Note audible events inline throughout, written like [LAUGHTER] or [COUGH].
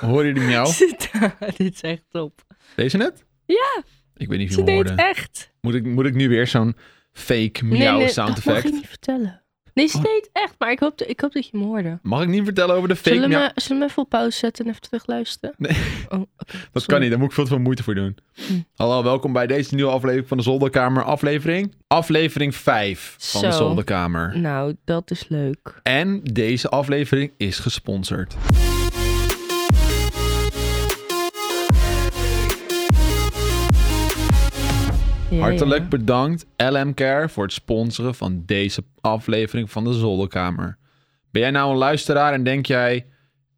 Hoor je die miauw? Zit [LAUGHS] daar. Dit is echt top. Deze net? Ja, Ik weet niet ze veel deed woorden. echt. Moet ik, moet ik nu weer zo'n fake miauw sound dat mag ik effect? niet vertellen. Nee, ze Oh. deed echt, maar ik hoop, ik hoop dat je me hoorde. Mag ik niet vertellen over de fake Zullen we, miauw? zullen we hem even op pauze zetten en even terugluisteren? Oh, oké. Dat Sorry. kan niet, daar moet ik veel te veel moeite voor doen. Hm. Hallo, welkom bij deze nieuwe aflevering van de Zolderkamer. Aflevering? Aflevering 5 van de Zo. Zolderkamer. Nou, dat is leuk. En deze aflevering is gesponsord. Ja, Hartelijk ja. bedankt LM Care voor het sponsoren van deze aflevering van de Zolderkamer. Ben jij nou een luisteraar en denk jij,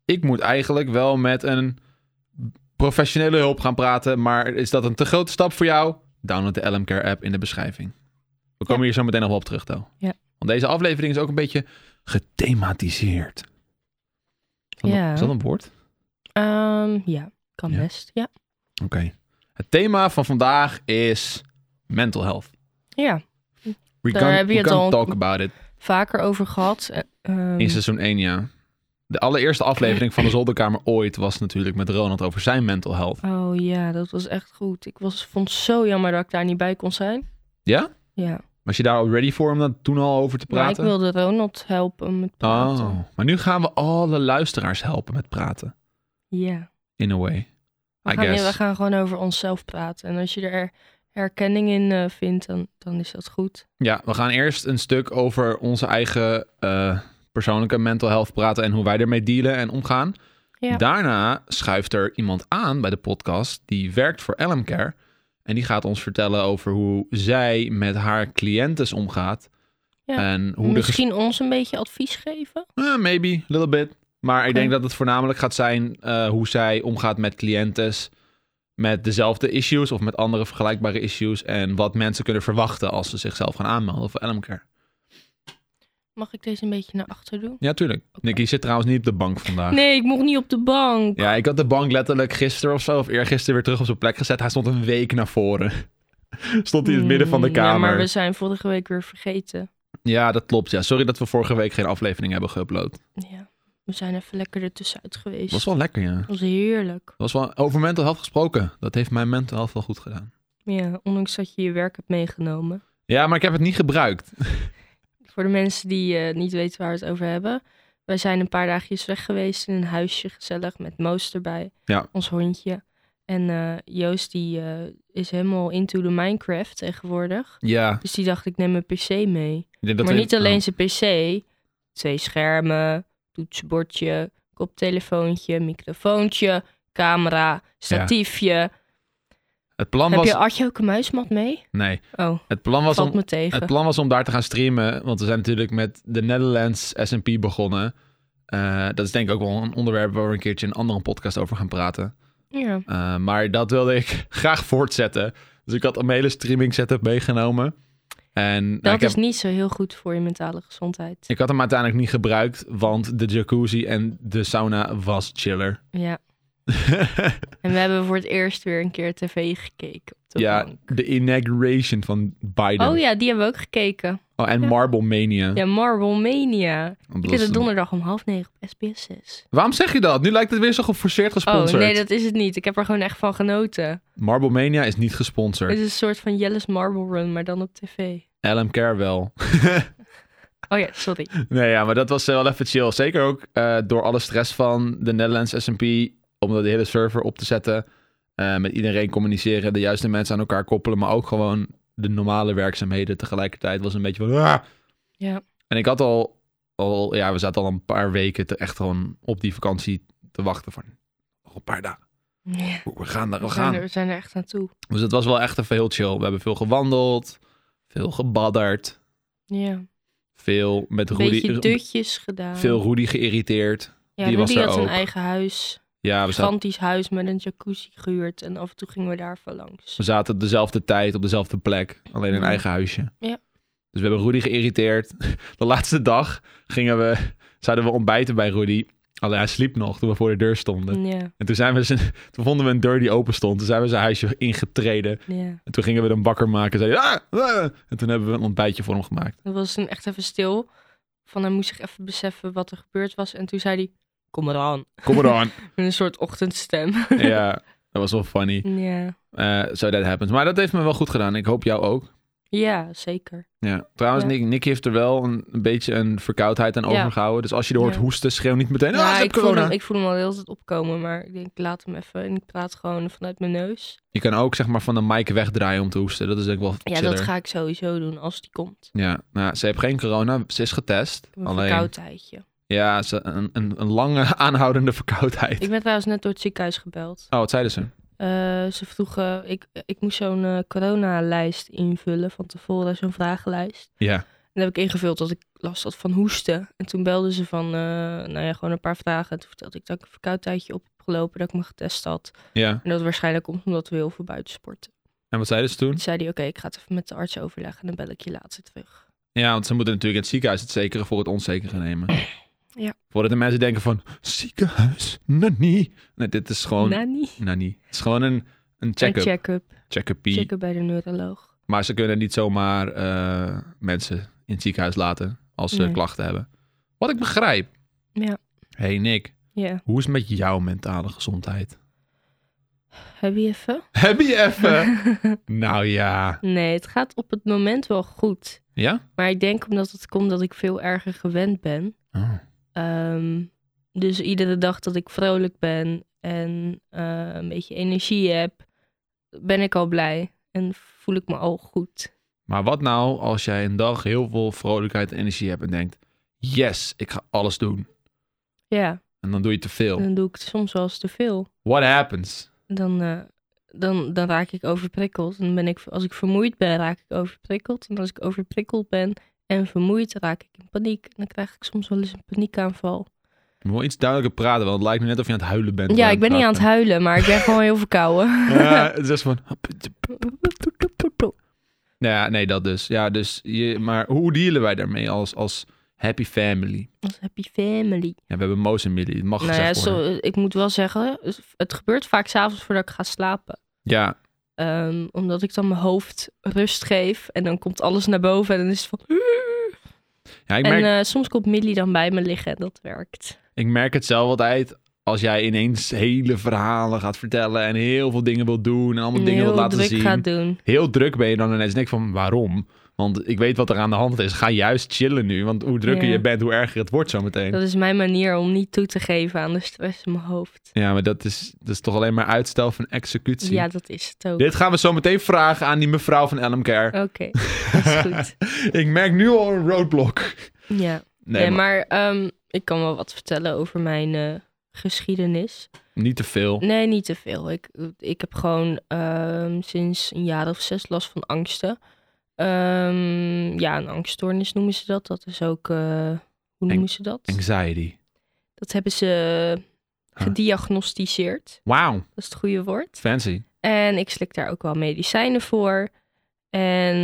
ik moet eigenlijk wel met een professionele hulp gaan praten, maar is dat een te grote stap voor jou? Download de LM Care app in de beschrijving. We komen hier zo meteen nog wel op terug, Tel. Ja. Want deze aflevering is ook een beetje gethematiseerd. Is dat, Ja. een, is dat een woord? Ehm, ja, kan Ja. best. Ja. Oké. Het thema van vandaag is mental health. ja, We Daar can, hebben we we het can al- talk about it. vaker over gehad. Eh, ehm, In seizoen 1, ja. De allereerste aflevering van de Zolderkamer ooit was natuurlijk met Ronald over zijn mental health. Oh ja, dat was echt goed. Ik was, vond het zo jammer dat ik daar niet bij kon zijn. Ja? Ja, Was je daar al ready voor om dat toen al over te maar ik praten? wilde Ronald helpen met praten. Oh, maar nu gaan we alle luisteraars helpen met praten. Ja. In a way. We I gaan, guess. we gaan gewoon over onszelf praten. En als je er herkenning in eh, vindt, dan, dan is dat goed. Ja, we gaan eerst een stuk over onze eigen eh, persoonlijke mental health praten en hoe wij ermee dealen en omgaan. Ja. Daarna schuift er iemand aan bij de podcast die werkt voor LM Care. En die gaat ons vertellen over hoe zij met haar cliëntes omgaat. Ja. En hoe de Misschien ons een beetje advies geven. eh, maybe, a little bit. Maar ik Oké. denk dat het voornamelijk gaat zijn eh, hoe zij omgaat met cliëntes. Met dezelfde issues of met andere vergelijkbare issues. En wat mensen kunnen verwachten als ze zichzelf gaan aanmelden voor Elmcare. Mag ik deze een beetje naar achter doen? Ja, tuurlijk. Nicky zit trouwens niet op de bank vandaag. Nee, ik mocht niet op de bank. Ja, ik had de bank letterlijk gisteren of zo, of eergisteren weer terug op zijn plek gezet. Hij stond een week naar voren. [LAUGHS] Stond hij in het midden van de Mm, Ja, kamer. maar Ja, we zijn vorige week weer vergeten. dat klopt. Ja. Sorry dat we vorige week geen aflevering hebben geüpload. Ja, we zijn even lekker ertussenuit geweest. was wel lekker, ja. was heerlijk. was wel over mental health gesproken. Dat heeft mijn mental health wel goed gedaan. Ja, ondanks dat je je werk hebt meegenomen. Ja, maar ik heb het niet gebruikt. Voor de mensen die eh, niet weten waar we het over hebben. Wij zijn een paar dagjes weg geweest in een huisje, gezellig, met Moos erbij. Ja. Ons hondje. En eh, Joost die eh, is helemaal into de Minecraft tegenwoordig. Ja. Dus die dacht, ik neem mijn pc mee. ik denk dat maar we- niet alleen Oh. zijn pc. Twee schermen, toetsenbordje, koptelefoontje, microfoontje, camera, statiefje. Het plan Heb was... je Artje ook een muismat mee? Nee. Oh, Het plan was, valt om... me [LAUGHS] tegen. het plan was om daar te gaan streamen. Want we zijn natuurlijk met de Netherlands S&P begonnen. Eh, dat is denk ik ook wel een onderwerp waar we een keertje in een andere podcast over gaan praten. Ja. Uh, maar dat wilde ik [LAUGHS] graag voortzetten. Dus ik had een hele streaming setup meegenomen. En nou, Dat ik, heb- is niet zo heel goed voor je mentale gezondheid. ik had hem uiteindelijk niet gebruikt, want de jacuzzi en de sauna was chiller. [LAUGHS] Ja. En we hebben voor het eerst weer een keer tv gekeken. Op de ja, bank. de inauguration van Biden. Oh ja, die hebben we ook gekeken. Oh, en ja. Marble Mania. Ja, Marble Mania. Want Ik dat was heb het een- donderdag om half negen op SBS 6. Waarom zeg je dat? Nu lijkt het weer zo geforceerd Oh, gesponsord. nee, dat is het niet. Ik heb er gewoon echt van genoten. Marble Mania is niet gesponsord. Het is een soort van Jelle's Marble Run, maar dan op tv. LM Care wel. [LAUGHS] Oh ja, sorry. Nee, ja, maar dat was eh, wel even chill. Zeker ook eh, door alle stress van de Netherlands S&P, om de hele server op te zetten. eh, met iedereen communiceren, de juiste mensen aan elkaar koppelen, maar ook gewoon de normale werkzaamheden tegelijkertijd was een beetje van... "Ah!" Ja. En ik had al, al, ja, we zaten al een paar weken te, echt gewoon op die vakantie te wachten van nog een paar dagen. Ja, We gaan daar, we, we zijn gaan. er, we zijn er echt aan toe. Dus het was wel echt even heel chill. We hebben veel gewandeld, veel gebadderd, Ja. Een veel met beetje Rudy, dutjes gedaan. veel Rudy geïrriteerd. ja, die was Rudy er had ook. een eigen huis. Ja, we Een zaten gigantisch huis met een jacuzzi gehuurd. En af en toe gingen we daar even langs. We zaten op dezelfde tijd, op dezelfde plek. Alleen in een Ja. eigen huisje. Ja. Dus we hebben Rudy geïrriteerd. [LAUGHS] De laatste dag gingen we, zouden we ontbijten bij Rudy. Alleen hij sliep nog toen we voor de deur stonden. Ja, En toen, zijn we zijn, [LAUGHS] toen vonden we een deur die open stond. Toen zijn we zijn huisje ingetreden. ja. En toen gingen we hem wakker maken. Zei hij, "Ah, ah." En toen hebben we een ontbijtje voor hem gemaakt. Dat was toen echt even stil. Van hij moest zich even beseffen wat er gebeurd was. En toen zei hij, Kom eraan. Kom eraan. [LAUGHS] Met een soort ochtendstem. ja, dat was wel funny. [LAUGHS] ja. Eh so that happens. Maar dat heeft me wel goed gedaan. Ik hoop jou ook. ja, zeker. Ja. Trouwens, Ja. Nick, Nick heeft er wel een, een beetje een verkoudheid aan Ja. overgehouden. Dus als je er hoort Ja. hoesten, schreeuw niet meteen. Ah, ik Nou, ik, heb voel corona. hem, ik voel hem al heel tijd opkomen, maar ik denk, ik laat hem even. En ik praat gewoon vanuit mijn neus. Je kan ook zeg maar van de mic wegdraaien om te hoesten. Dat is denk ik wel Ja, chiller. dat ga ik sowieso doen als die komt. Ja, nou, ze heeft geen corona. Ze is getest. Ik heb een Alleen, verkoudheidje. ja, ze, een, een, een lange [LAUGHS] aanhoudende verkoudheid. Ik ben trouwens net door het ziekenhuis gebeld. Oh, wat zeiden ze? Eh, ze vroegen, ik, ik moest zo'n eh, coronalijst invullen van tevoren, zo'n vragenlijst. Ja. En heb ik ingevuld dat ik last had van hoesten. En toen belden ze van, eh, nou ja, gewoon een paar vragen. En toen vertelde ik dat ik een verkoudheidje op heb gelopen, dat ik me getest had. ja. En dat het waarschijnlijk komt omdat we heel veel buiten sporten. En wat zeiden ze toen? Toen zei hij, oké, ik ga het even met de arts overleggen en dan bel ik je later terug. Ja, want ze moeten natuurlijk het ziekenhuis het zekere voor het onzekere nemen. Ja. Voordat de mensen denken van, ziekenhuis, nani. Nee, dit is gewoon, Nou, niet. nani. Het is gewoon een, een Een check-up, check-up. check-upie. Check-up bij de neuroloog. Maar ze kunnen niet zomaar eh, mensen in het ziekenhuis laten als ze Nee. klachten hebben. Wat ik begrijp. Ja. hey Nick, Ja, hoe is het met jouw mentale gezondheid? [LAUGHS] heb je even? Heb je even? [LAUGHS] nou ja. nee, het gaat op het moment wel goed. Ja? Maar ik denk omdat het komt dat ik veel erger gewend ben. Oh. Ehm, dus iedere dag dat ik vrolijk ben en eh, een beetje energie heb, ben ik al blij en voel ik me al goed. Maar wat nou als jij een dag heel veel vrolijkheid en energie hebt en denkt, yes, ik ga alles doen. Ja, En dan doe je te veel. dan doe ik het soms wel eens te veel. What happens? Dan, eh, dan, dan raak ik overprikkeld. En dan ben ik, als ik vermoeid ben, raak ik overprikkeld. En als ik overprikkeld ben en vermoeid, raak ik in paniek. En dan krijg ik soms wel eens een paniekaanval. Je moet wel iets duidelijker praten, want het lijkt me net of je aan het huilen bent. Ja, ik ben niet aan het huilen, maar ik ben gewoon heel verkouden. [LAUGHS] [LAUGHS] huilen. Ja, het is echt van... Nou ja, nee, dat dus. Ja, dus je, maar hoe dealen wij daarmee als, als happy family? Als happy family. Ja, we hebben Moos en Millie, het mag nou ja, gezegd worden. zo, ik moet wel zeggen, het gebeurt vaak s'avonds voordat ik ga slapen. Ja, Ehm, omdat ik dan mijn hoofd rust geef en dan komt alles naar boven en dan is het van... ja ik, en merk, eh, soms komt Millie dan bij me liggen en dat werkt. ik merk het zelf altijd als jij ineens hele verhalen gaat vertellen en heel veel dingen wilt doen en allemaal En dingen heel wilt laten druk zien. gaat doen. Heel druk ben je dan ineens en ik van waarom? Want ik weet wat er aan de hand is. Ga juist chillen nu, want hoe drukker Ja. je bent, hoe erger het wordt zometeen. Dat is mijn manier om niet toe te geven aan de stress in mijn hoofd. Ja, maar dat is, dat is toch alleen maar uitstel van executie. Ja, dat is het ook. Dit gaan we zo meteen vragen aan die mevrouw van Elmcare. Oké, [LAUGHS] dat is goed. Ik merk nu al een roadblock. Ja. [LAUGHS] Nee, Nee, maar maar ehm, ik kan wel wat vertellen over mijn eh, geschiedenis. niet te veel. Nee, niet te veel. Ik, ik heb gewoon ehm, sinds een jaar of zes last van angsten. Ehm, ja, een angststoornis noemen ze dat. Dat is ook. eh, hoe noemen ze dat? Anxiety. Dat hebben ze Huh. gediagnosticeerd. Wauw, Dat is het goede woord. fancy. En ik slik daar ook wel medicijnen voor. En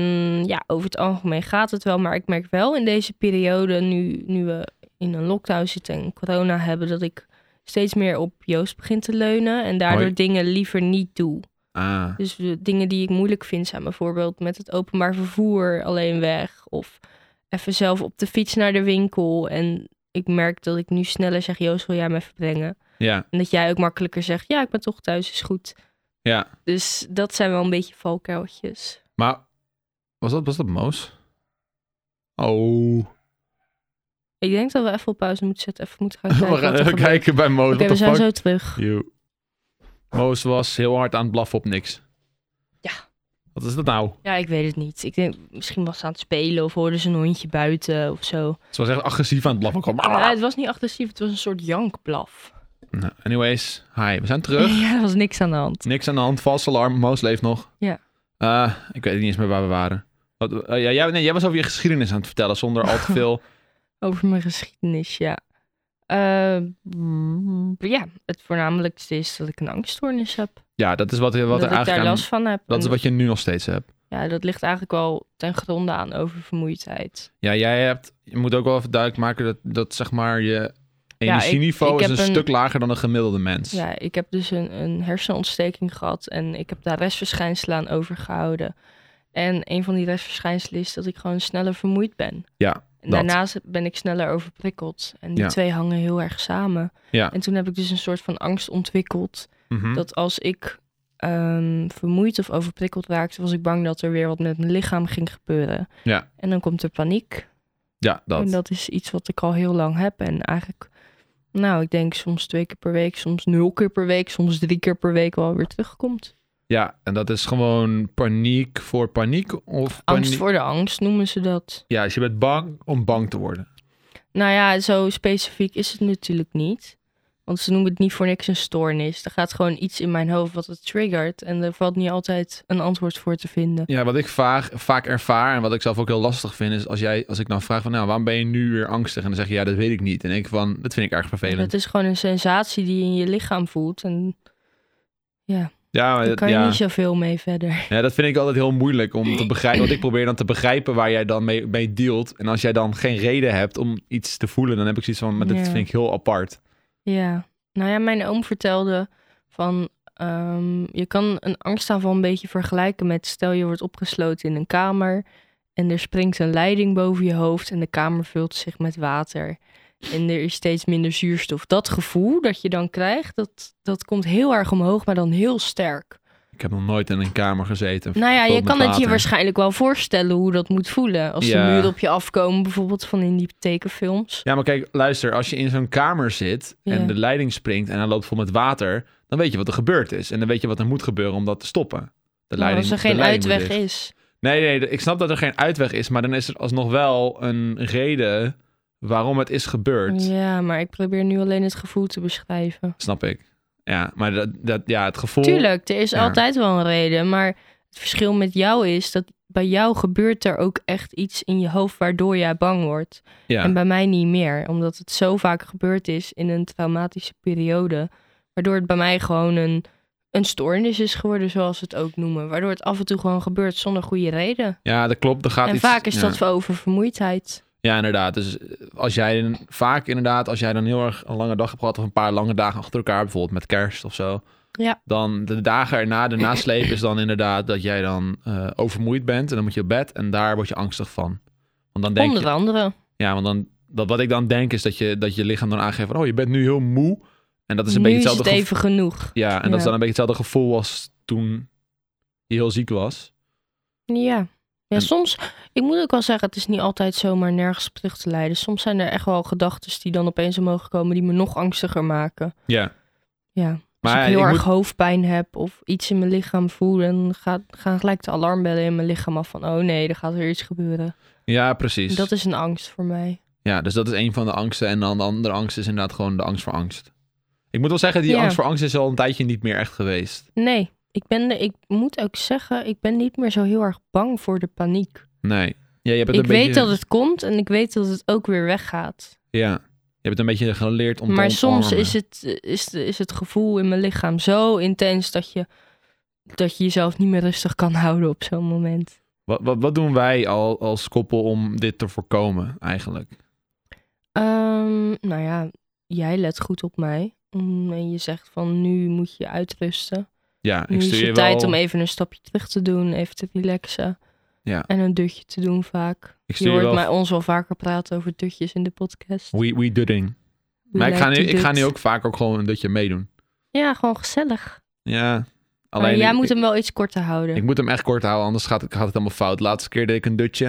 ja, over het algemeen gaat het wel. Maar ik merk wel in deze periode, nu, nu we in een lockdown zitten en corona hebben, dat ik steeds meer op Joost begin te leunen. En daardoor Hoi. dingen liever niet doe. Ah, Dus de dingen die ik moeilijk vind zijn bijvoorbeeld met het openbaar vervoer alleen weg. Of even zelf op de fiets naar de winkel. En ik merk dat ik nu sneller zeg, Joost wil jij me even brengen? ja. En dat jij ook makkelijker zegt, ja ik ben toch thuis, is goed. Ja. Dus dat zijn wel een beetje valkuiltjes. Maar was dat, was dat Moos? Oh. [LAUGHS] Ik denk dat we even op pauze moeten zetten, even moeten [LAUGHS] gaan We kijken gaan wat er even gebeurt. kijken bij Moos. Oké, What the we zijn fuck? zo terug. Yo. Moos was heel hard aan het blaffen op niks. Ja. Wat is dat nou? Ja, ik weet het niet. Ik denk, misschien was ze aan het spelen of hoorde ze een hondje buiten of zo. Ze was echt agressief aan het blaffen. Kom. Maar het was niet agressief, het was een soort jankblaf. Nou, anyways, hi. We zijn terug. [LAUGHS] Ja, er was niks aan de hand. Niks aan de hand, vals alarm. Moos leeft nog. Ja. Eh, ik weet niet eens meer waar we waren. Wat, eh, ja, jij, nee, jij was over je geschiedenis aan het vertellen zonder al [LAUGHS] te veel. Over mijn geschiedenis, ja. Eh, mm, ja, het voornamelijkste is dat ik een angststoornis heb. Ja, dat is wat, wat dat er ik daar eigenlijk aan- last van heb. Dat En is wat je nu nog steeds hebt. Ja, dat ligt eigenlijk wel ten gronde aan oververmoeidheid. Ja, jij hebt, je moet ook wel even duidelijk maken dat, dat zeg maar je Ja, ik- energieniveau ik is heb een, een- stuk lager dan een gemiddelde mens. Ja, ik heb dus een, een hersenontsteking gehad en ik heb daar restverschijnselen aan overgehouden. En een van die restverschijnselen is dat ik gewoon sneller vermoeid ben. Ja. En daarnaast ben ik sneller overprikkeld. En die Ja. twee hangen heel erg samen. Ja. En toen heb ik dus een soort van angst ontwikkeld. Mhm. Dat als ik ehm, vermoeid of overprikkeld raakte, was ik bang dat er weer wat met mijn lichaam ging gebeuren. Ja. En dan komt er paniek. ja, En dat. dat is iets wat ik al heel lang heb. En eigenlijk, nou, ik denk soms twee keer per week, soms nul keer per week, soms drie keer per week wel weer terugkomt. Ja, en dat is gewoon paniek voor paniek of Angst panie- voor de angst noemen ze dat. Ja, dus je bent bang om bang te worden. Nou ja, zo specifiek is het natuurlijk niet. Want ze noemen het niet voor niks een stoornis. Er gaat gewoon iets in mijn hoofd wat het triggert. En er valt niet altijd een antwoord voor te vinden. Ja, wat ik vaag, vaak ervaar en wat ik zelf ook heel lastig vind, is als, jij, als ik dan vraag van, nou, waarom ben je nu weer angstig? En dan zeg je, ja, dat weet ik niet. En ik van, dat vind ik erg vervelend. Het is gewoon een sensatie die je in je lichaam voelt. En Ja, maar daar dat, kan je ja. niet zoveel mee verder. ja, dat vind ik altijd heel moeilijk om te begrijpen. Want ik probeer dan te begrijpen waar jij dan mee, mee dealt. En als jij dan geen reden hebt om iets te voelen, dan heb ik zoiets van, maar dit Ja. vind ik heel apart. Ja. Nou ja, mijn oom vertelde van... ehm, je kan een angstaanval een beetje vergelijken met... stel je wordt opgesloten in een kamer... en er springt een leiding boven je hoofd... en de kamer vult zich met water. En er is steeds minder zuurstof. Dat gevoel dat je dan krijgt, dat, dat komt heel erg omhoog... maar dan heel sterk. Ik heb nog nooit in een kamer gezeten. Nou ja, gevuld je met kan het je water. waarschijnlijk wel voorstellen hoe dat moet voelen. Als Ja. de muren op je afkomen, bijvoorbeeld van in die tekenfilms. Ja, maar kijk, luister, als je in zo'n kamer zit en Ja. de leiding springt en hij loopt vol met water, dan weet je wat er gebeurd is. En dan weet je wat er moet gebeuren om dat te stoppen. De Maar leiding, Nou, als er de geen leiding moet uitweg dicht. is. Nee, nee, de- ik snap dat er geen uitweg is, maar dan is er alsnog wel een reden waarom het is gebeurd. Ja, maar ik probeer nu alleen het gevoel te beschrijven. Snap ik. Ja, maar dat, dat, ja, het gevoel. Tuurlijk, er is Ja. altijd wel een reden. Maar het verschil met jou is dat bij jou gebeurt er ook echt iets in je hoofd waardoor jij bang wordt. Ja, En bij mij niet meer, omdat het zo vaak gebeurd is in een traumatische periode. Waardoor het bij mij gewoon een, een stoornis is geworden, zoals ze het ook noemen. Waardoor het af en toe gewoon gebeurt zonder goede reden. ja dat klopt. Er gaat en iets, vaak is ja. dat over vermoeidheid. Ja, inderdaad. Dus als jij een- vaak inderdaad, als jij dan heel erg een lange dag hebt gehad of een paar lange dagen achter elkaar, bijvoorbeeld met kerst of zo. Ja. Dan de dagen erna, de nasleep is dan inderdaad dat jij dan eh, overmoeid bent en dan moet je op bed en daar word je angstig van. Want dan denk Onder je, andere. ja, want dan dat, wat ik dan denk is dat je dat je lichaam dan aangeeft van, oh, je bent nu heel moe. En dat is een nu beetje is hetzelfde het gevo- even genoeg. Ja, en dat Ja. is dan een beetje hetzelfde gevoel als toen je heel ziek was. Ja. Ja, En- soms, ik moet ook wel zeggen, het is niet altijd zomaar nergens op terug te leiden. Soms zijn er echt wel gedachten die dan opeens omhoog komen die me nog angstiger maken. Ja. Ja. Als Maar ik heel ik erg moet- hoofdpijn heb of iets in mijn lichaam voel, dan gaat, gaan gelijk de alarmbellen in mijn lichaam af van, oh nee, er gaat weer iets gebeuren. Ja, precies. Dat is een angst voor mij. Ja, dus dat is een van de angsten. En dan de andere angst is inderdaad gewoon de angst voor angst. Ik moet wel zeggen, die Ja. angst voor angst is al een tijdje niet meer echt geweest. Nee, ik, ben de, ik moet ook zeggen, ik ben niet meer zo heel erg bang voor de paniek. Nee. Ja, je hebt het Ik een weet beetje, dat het komt en ik weet dat het ook weer weggaat. Ja, je hebt het een beetje geleerd om te maar soms omarmen. is het, is, is het gevoel in mijn lichaam zo intens dat je, dat je jezelf niet meer rustig kan [LAUGHS] houden op zo'n moment. Wat, wat, wat doen wij al, als koppel om dit te voorkomen eigenlijk? Ehm, nou ja, jij let goed op mij. Mm, En je zegt van nu moet je uitrusten. Ja, Nu ik stuur is je het tijd wel... om even een stapje terug te doen, even te relaxen. Ja. En een dutje te doen vaak. Ik Je stuur je, hoort wel... mij ons wel vaker praten over dutjes in de podcast. We, we doing. We Maar ik ga, like nu, to ik ga dut. nu ook vaak ook gewoon een dutje meedoen. Ja, gewoon gezellig. Ja. Alleen Maar jij ik- moet hem wel iets korter houden. Ik moet hem echt kort houden, anders gaat het, gaat het helemaal fout. Laatste keer deed ik een dutje.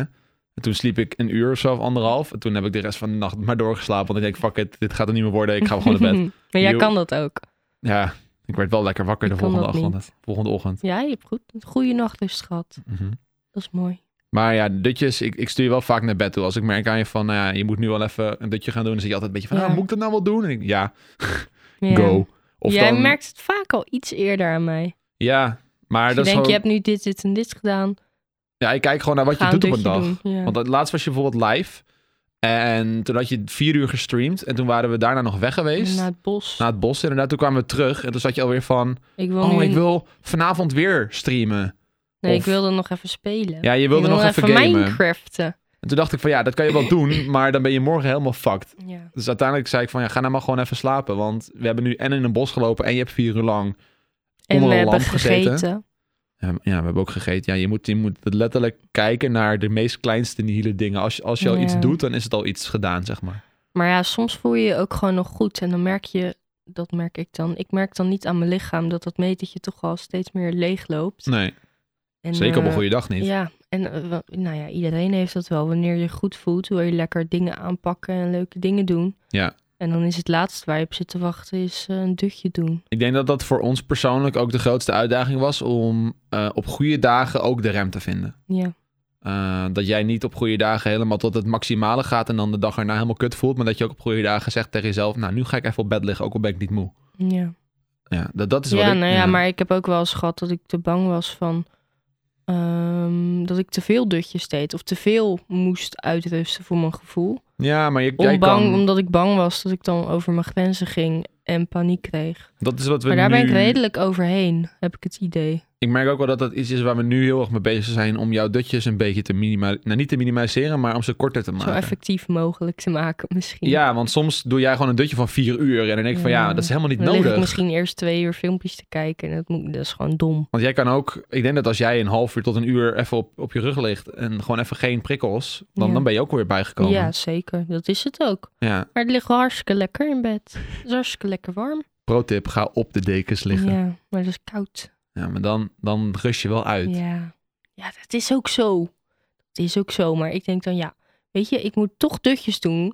En toen sliep ik een uur of zo, of anderhalf. En toen heb ik de rest van de nacht maar doorgeslapen. Want ik denk, fuck it, dit gaat er niet meer worden. Ik ga gewoon naar bed. [LAUGHS] maar jij Jo. kan dat ook. ja, ik werd wel lekker wakker de Ik kan volgende, dat ochtend, volgende ochtend. Ja, je hebt goed, een goede nachtrust gehad. Mhm. Dat is mooi. Maar ja, dutjes, ik, ik stuur je wel vaak naar bed toe. Als ik merk aan je van, nou ja, je moet nu wel even een dutje gaan doen. Dan zit je altijd een beetje van, Ja. ah, moet ik dat nou wel doen? En ik, ja, Ja. go. Of Jij dan, merkt het vaak al iets eerder aan mij. Ja, maar je dat denkt, is je gewoon... hebt nu dit, dit en dit gedaan. Ja, ik kijk gewoon naar wat Ga je doet op een dutje dag. doen. Ja. Want het laatst was je bijvoorbeeld live. En toen had je vier uur gestreamd. En toen waren we daarna nog weg geweest. Naar het bos. Naar het bos. Inderdaad, toen kwamen we terug. En toen zat je alweer van... ik wil nu... Nou, Oh, ik wil vanavond weer streamen. Nee, of- ik wilde nog even spelen. Ja, je ik wilde wil nog even, gamen. Minecraften. En toen dacht ik van... Ja, dat kan je wel [CLEARS THROAT] doen. Maar dan ben je morgen helemaal fucked. Ja. Dus uiteindelijk zei ik van... Ja, ga nou maar gewoon even slapen. Want we hebben nu en in een bos gelopen. En je hebt vier uur lang En Onder we een hebben lamp gezeten. gegeten. Ja, ja, we hebben ook gegeten. Ja, je moet, je moet letterlijk kijken naar de meest kleinste nihile dingen. Als, je- als je al iets Ja. doet, dan is het al iets gedaan, zeg maar. Maar ja, soms voel je je ook gewoon nog goed. En dan merk je, dat merk ik dan. Ik merk dan niet aan mijn lichaam dat dat metertje toch al steeds meer leeg loopt. Nee, En, zeker op een eh, goede dag niet. Ja, en eh, wa- nou ja, iedereen heeft dat wel. Wanneer je goed voelt, wil je lekker dingen aanpakken en leuke dingen doen. Ja. En dan is het laatste waar je op zit te wachten, is eh, een dutje doen. Ik denk dat dat voor ons persoonlijk ook de grootste uitdaging was om eh, op goede dagen ook de rem te vinden. Ja, Eh, dat jij niet op goede dagen helemaal tot het maximale gaat en dan de dag erna helemaal kut voelt. Maar dat je ook op goede dagen zegt tegen jezelf, nou nu ga ik even op bed liggen, ook al ben ik niet moe. ja. Ja, dat, dat is Dus wat Ja, ik... nou ja, maar ik heb ook wel eens gehad dat ik te bang was van... ehm, dat ik te veel dutjes deed. Of te veel moest uitrusten voor mijn gevoel. Ja, maar je, jij Om bang, kan... Omdat ik bang was dat ik dan over mijn grenzen ging en paniek kreeg. Dat is wat we maar daar nu... ben ik redelijk overheen, heb ik het idee. Ik merk ook wel dat dat iets is waar we nu heel erg mee bezig zijn om jouw dutjes een beetje te minimaliseren. Nou, niet te minimaliseren, maar om ze korter te Zo maken. effectief mogelijk te maken misschien. Ja, want soms doe jij gewoon een dutje van vier uur en dan denk ik van ja, Ja. dat is helemaal niet Dan lig ik nodig. misschien eerst twee uur filmpjes te kijken. En dat, moet, dat is gewoon dom. Want jij kan ook, ik denk dat als jij een half uur tot een uur even op, op je rug ligt en gewoon even geen prikkels, dan, Ja. dan ben je ook weer bijgekomen. Ja, zeker. Dat is het ook. ja. Maar het ligt wel hartstikke lekker in bed. Het is hartstikke lekker warm. Pro tip, ga op de dekens liggen. Ja, Ja, maar het is koud. maar dan, dan rust je wel uit. Ja. ja, dat is ook zo. Dat is ook zo. Maar ik denk dan, ja, weet je, ik moet toch dutjes doen.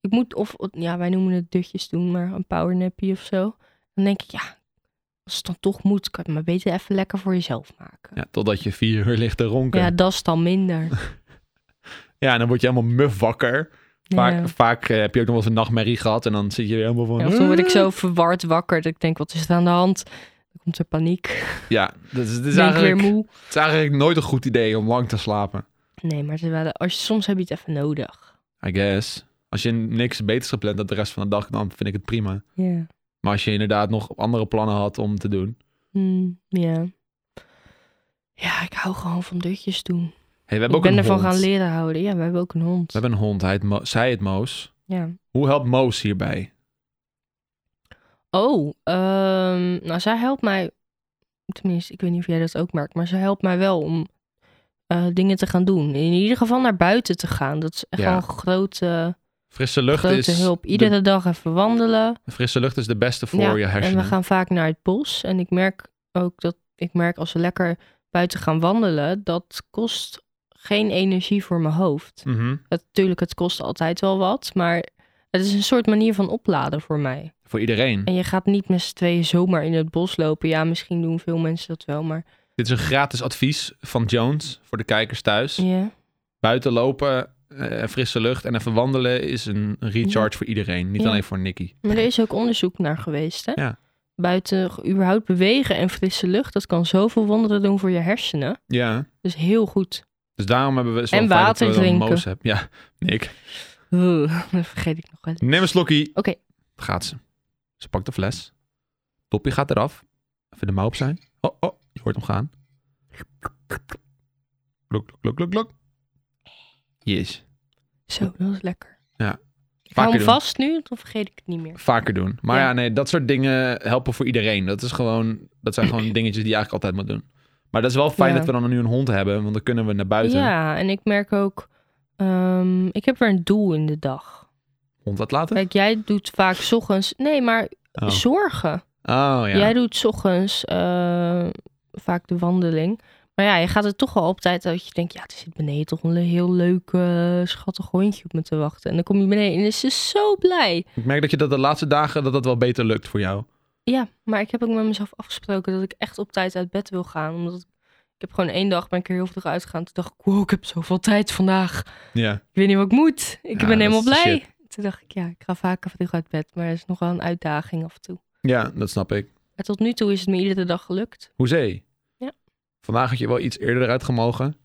Ik moet, of, of- ja, wij noemen het dutjes doen, maar een powernappie of zo. Dan denk ik, ja, als het dan toch moet, kan je het maar beter even lekker voor jezelf maken. Ja, totdat je vier uur ligt te ronken. Ja, Ja, dat is dan minder. en dan word je helemaal muf wakker. Vaak, Ja. vaak eh, heb je ook nog wel eens een nachtmerrie gehad en dan zit je weer helemaal van... Ja, of dan word ik zo verward wakker dat ik denk, wat is er aan de hand? Dan komt er paniek. Ja, dat is, dat is ben ik weer eigenlijk, moe? het is eigenlijk nooit een goed idee om lang te slapen. Nee, maar het is wel- als je, soms heb je het even nodig. I guess. Als je niks beters gepland hebt de rest van de dag, dan vind ik het prima. Ja. Maar als je inderdaad nog andere plannen had om te doen. Hmm, ja. Ja, ik hou gewoon van dutjes doen. Hey, we hebben Ik ook ben een ervan hond. gaan leren houden. Ja, we hebben ook een hond. We hebben een hond, hij heet Mo- zij het Moos. Ja. Hoe helpt Moos hierbij? Oh, ehm, nou, zij helpt mij. Tenminste, ik weet niet of jij dat ook merkt, maar ze helpt mij wel om eh, dingen te gaan doen. In ieder geval naar buiten te gaan. Dat is echt Ja. wel een grote, Frisse lucht, grote is hulp. Iedere dag even wandelen. de, frisse lucht is de beste voor Ja, je En hersenen. we gaan vaak naar het bos. En ik merk ook dat ik merk als we lekker buiten gaan wandelen, dat kost geen energie voor mijn hoofd. Mhm. Natuurlijk, het kost altijd wel wat, maar het is een soort manier van opladen voor mij. Voor iedereen. En je gaat niet met z'n tweeën zomaar in het bos lopen. Ja, misschien doen veel mensen dat wel, maar Dit is een gratis advies van Jones voor de kijkers thuis. ja. Buiten lopen, eh, frisse lucht en even wandelen is een recharge voor iedereen. Niet Ja. alleen voor Nicky. Maar er is ook onderzoek naar geweest, hè? Ja. Buiten überhaupt bewegen en frisse lucht, dat kan zoveel wonderen doen voor je hersenen. Ja. Dus heel goed. Dus daarom hebben we zo'n En fijn dat water we dan drinken. Moos hebben. Ja, Nick. Ugh, [LAUGHS] dat vergeet ik nog wel. Neem een slokkie. Oké. Gaat ze. Ze pakt de fles. Topje gaat eraf. Even de mouw opzij. Oh, oh, je hoort hem gaan. Klok, klok, klok, klok, klok. Yes. Zo, dat is lekker. Ja. Ik hou hem doen. vast nu, dan vergeet ik het niet meer. Vaker doen. Maar ja. Ja. nee, dat soort dingen helpen voor iedereen. Dat, is gewoon, dat zijn [CLEARS THROAT] gewoon dingetjes die je eigenlijk altijd moet doen. Maar dat is wel fijn Ja. dat we dan nu een hond hebben, want dan kunnen we naar buiten. Ja, en ik merk ook, ehm, ik heb weer een doel in de dag. Hond wat laten? Kijk, jij doet vaak 's ochtends, nee, maar Oh. zorgen. Oh, ja. Jij doet 's ochtends eh, vaak de wandeling. Maar ja, je gaat er toch wel op tijd dat je denkt, ja, er zit beneden toch een heel leuk, eh, schattig hondje op me te wachten. En dan kom je beneden en is ze zo blij. Ik merk dat je dat de laatste dagen dat dat wel beter lukt voor jou. Ja, maar ik heb ook met mezelf afgesproken dat ik echt op tijd uit bed wil gaan. Omdat ik, ik heb gewoon één dag ben ik er heel vroeg uitgegaan. Toen dacht ik, wow, ik heb zoveel tijd vandaag. Ja. Ik weet niet wat ik moet. Ik Ja, ben helemaal dat is de blij. Toen dacht ik, ja, ik ga vaker vroeg uit bed. Maar dat is nog wel een uitdaging af en toe. Ja, dat snap ik. Maar tot nu toe is het me iedere dag gelukt. Hoezee. Ja. Vandaag had je wel iets eerder eruit gemogen.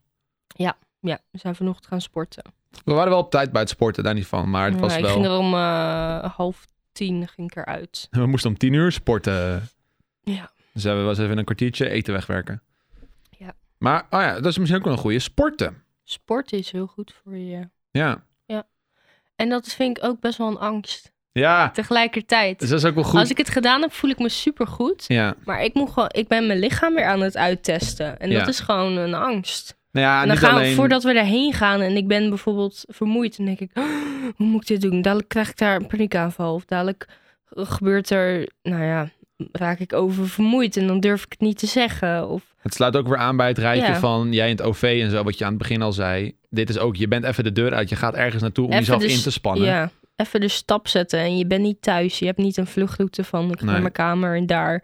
Ja, we zijn vanochtend gaan sporten. We waren wel op tijd bij het sporten, daar niet van. Maar het was Ja, ik wel... ging er om eh, half tien ging ik eruit. [LAUGHS] We moesten om tien uur sporten. Ja. Dus we was even een kwartiertje eten wegwerken. Ja. Maar, oh ja, dat is misschien ook wel een goede. Sporten. Sporten is heel goed voor je. Ja. En dat vind ik ook best wel een angst. Ja, tegelijkertijd. dus dat is ook wel goed. Als ik het gedaan heb, voel ik me supergoed. Ja. Maar ik, moet gewoon, ik ben mijn lichaam weer aan het uittesten. En dat Ja. is gewoon een angst. Nou ja, en dan niet gaan alleen... we, voordat we daarheen gaan en ik ben bijvoorbeeld vermoeid, dan denk ik, "Oh, hoe moet ik dit doen? Dadelijk krijg ik daar een paniekaanval. Of dadelijk gebeurt er, nou ja, raak ik oververmoeid en dan durf ik het niet te zeggen. Of Het sluit ook weer aan bij het rijtje Ja. van jij in het OV en zo, wat je aan het begin al zei. Dit is ook, je bent even de deur uit, je gaat ergens naartoe om Even jezelf dus- in te spannen. ja, even de stap zetten en je bent niet thuis. Je hebt niet een vluchtroute van ik ga Nee. naar mijn kamer en daar.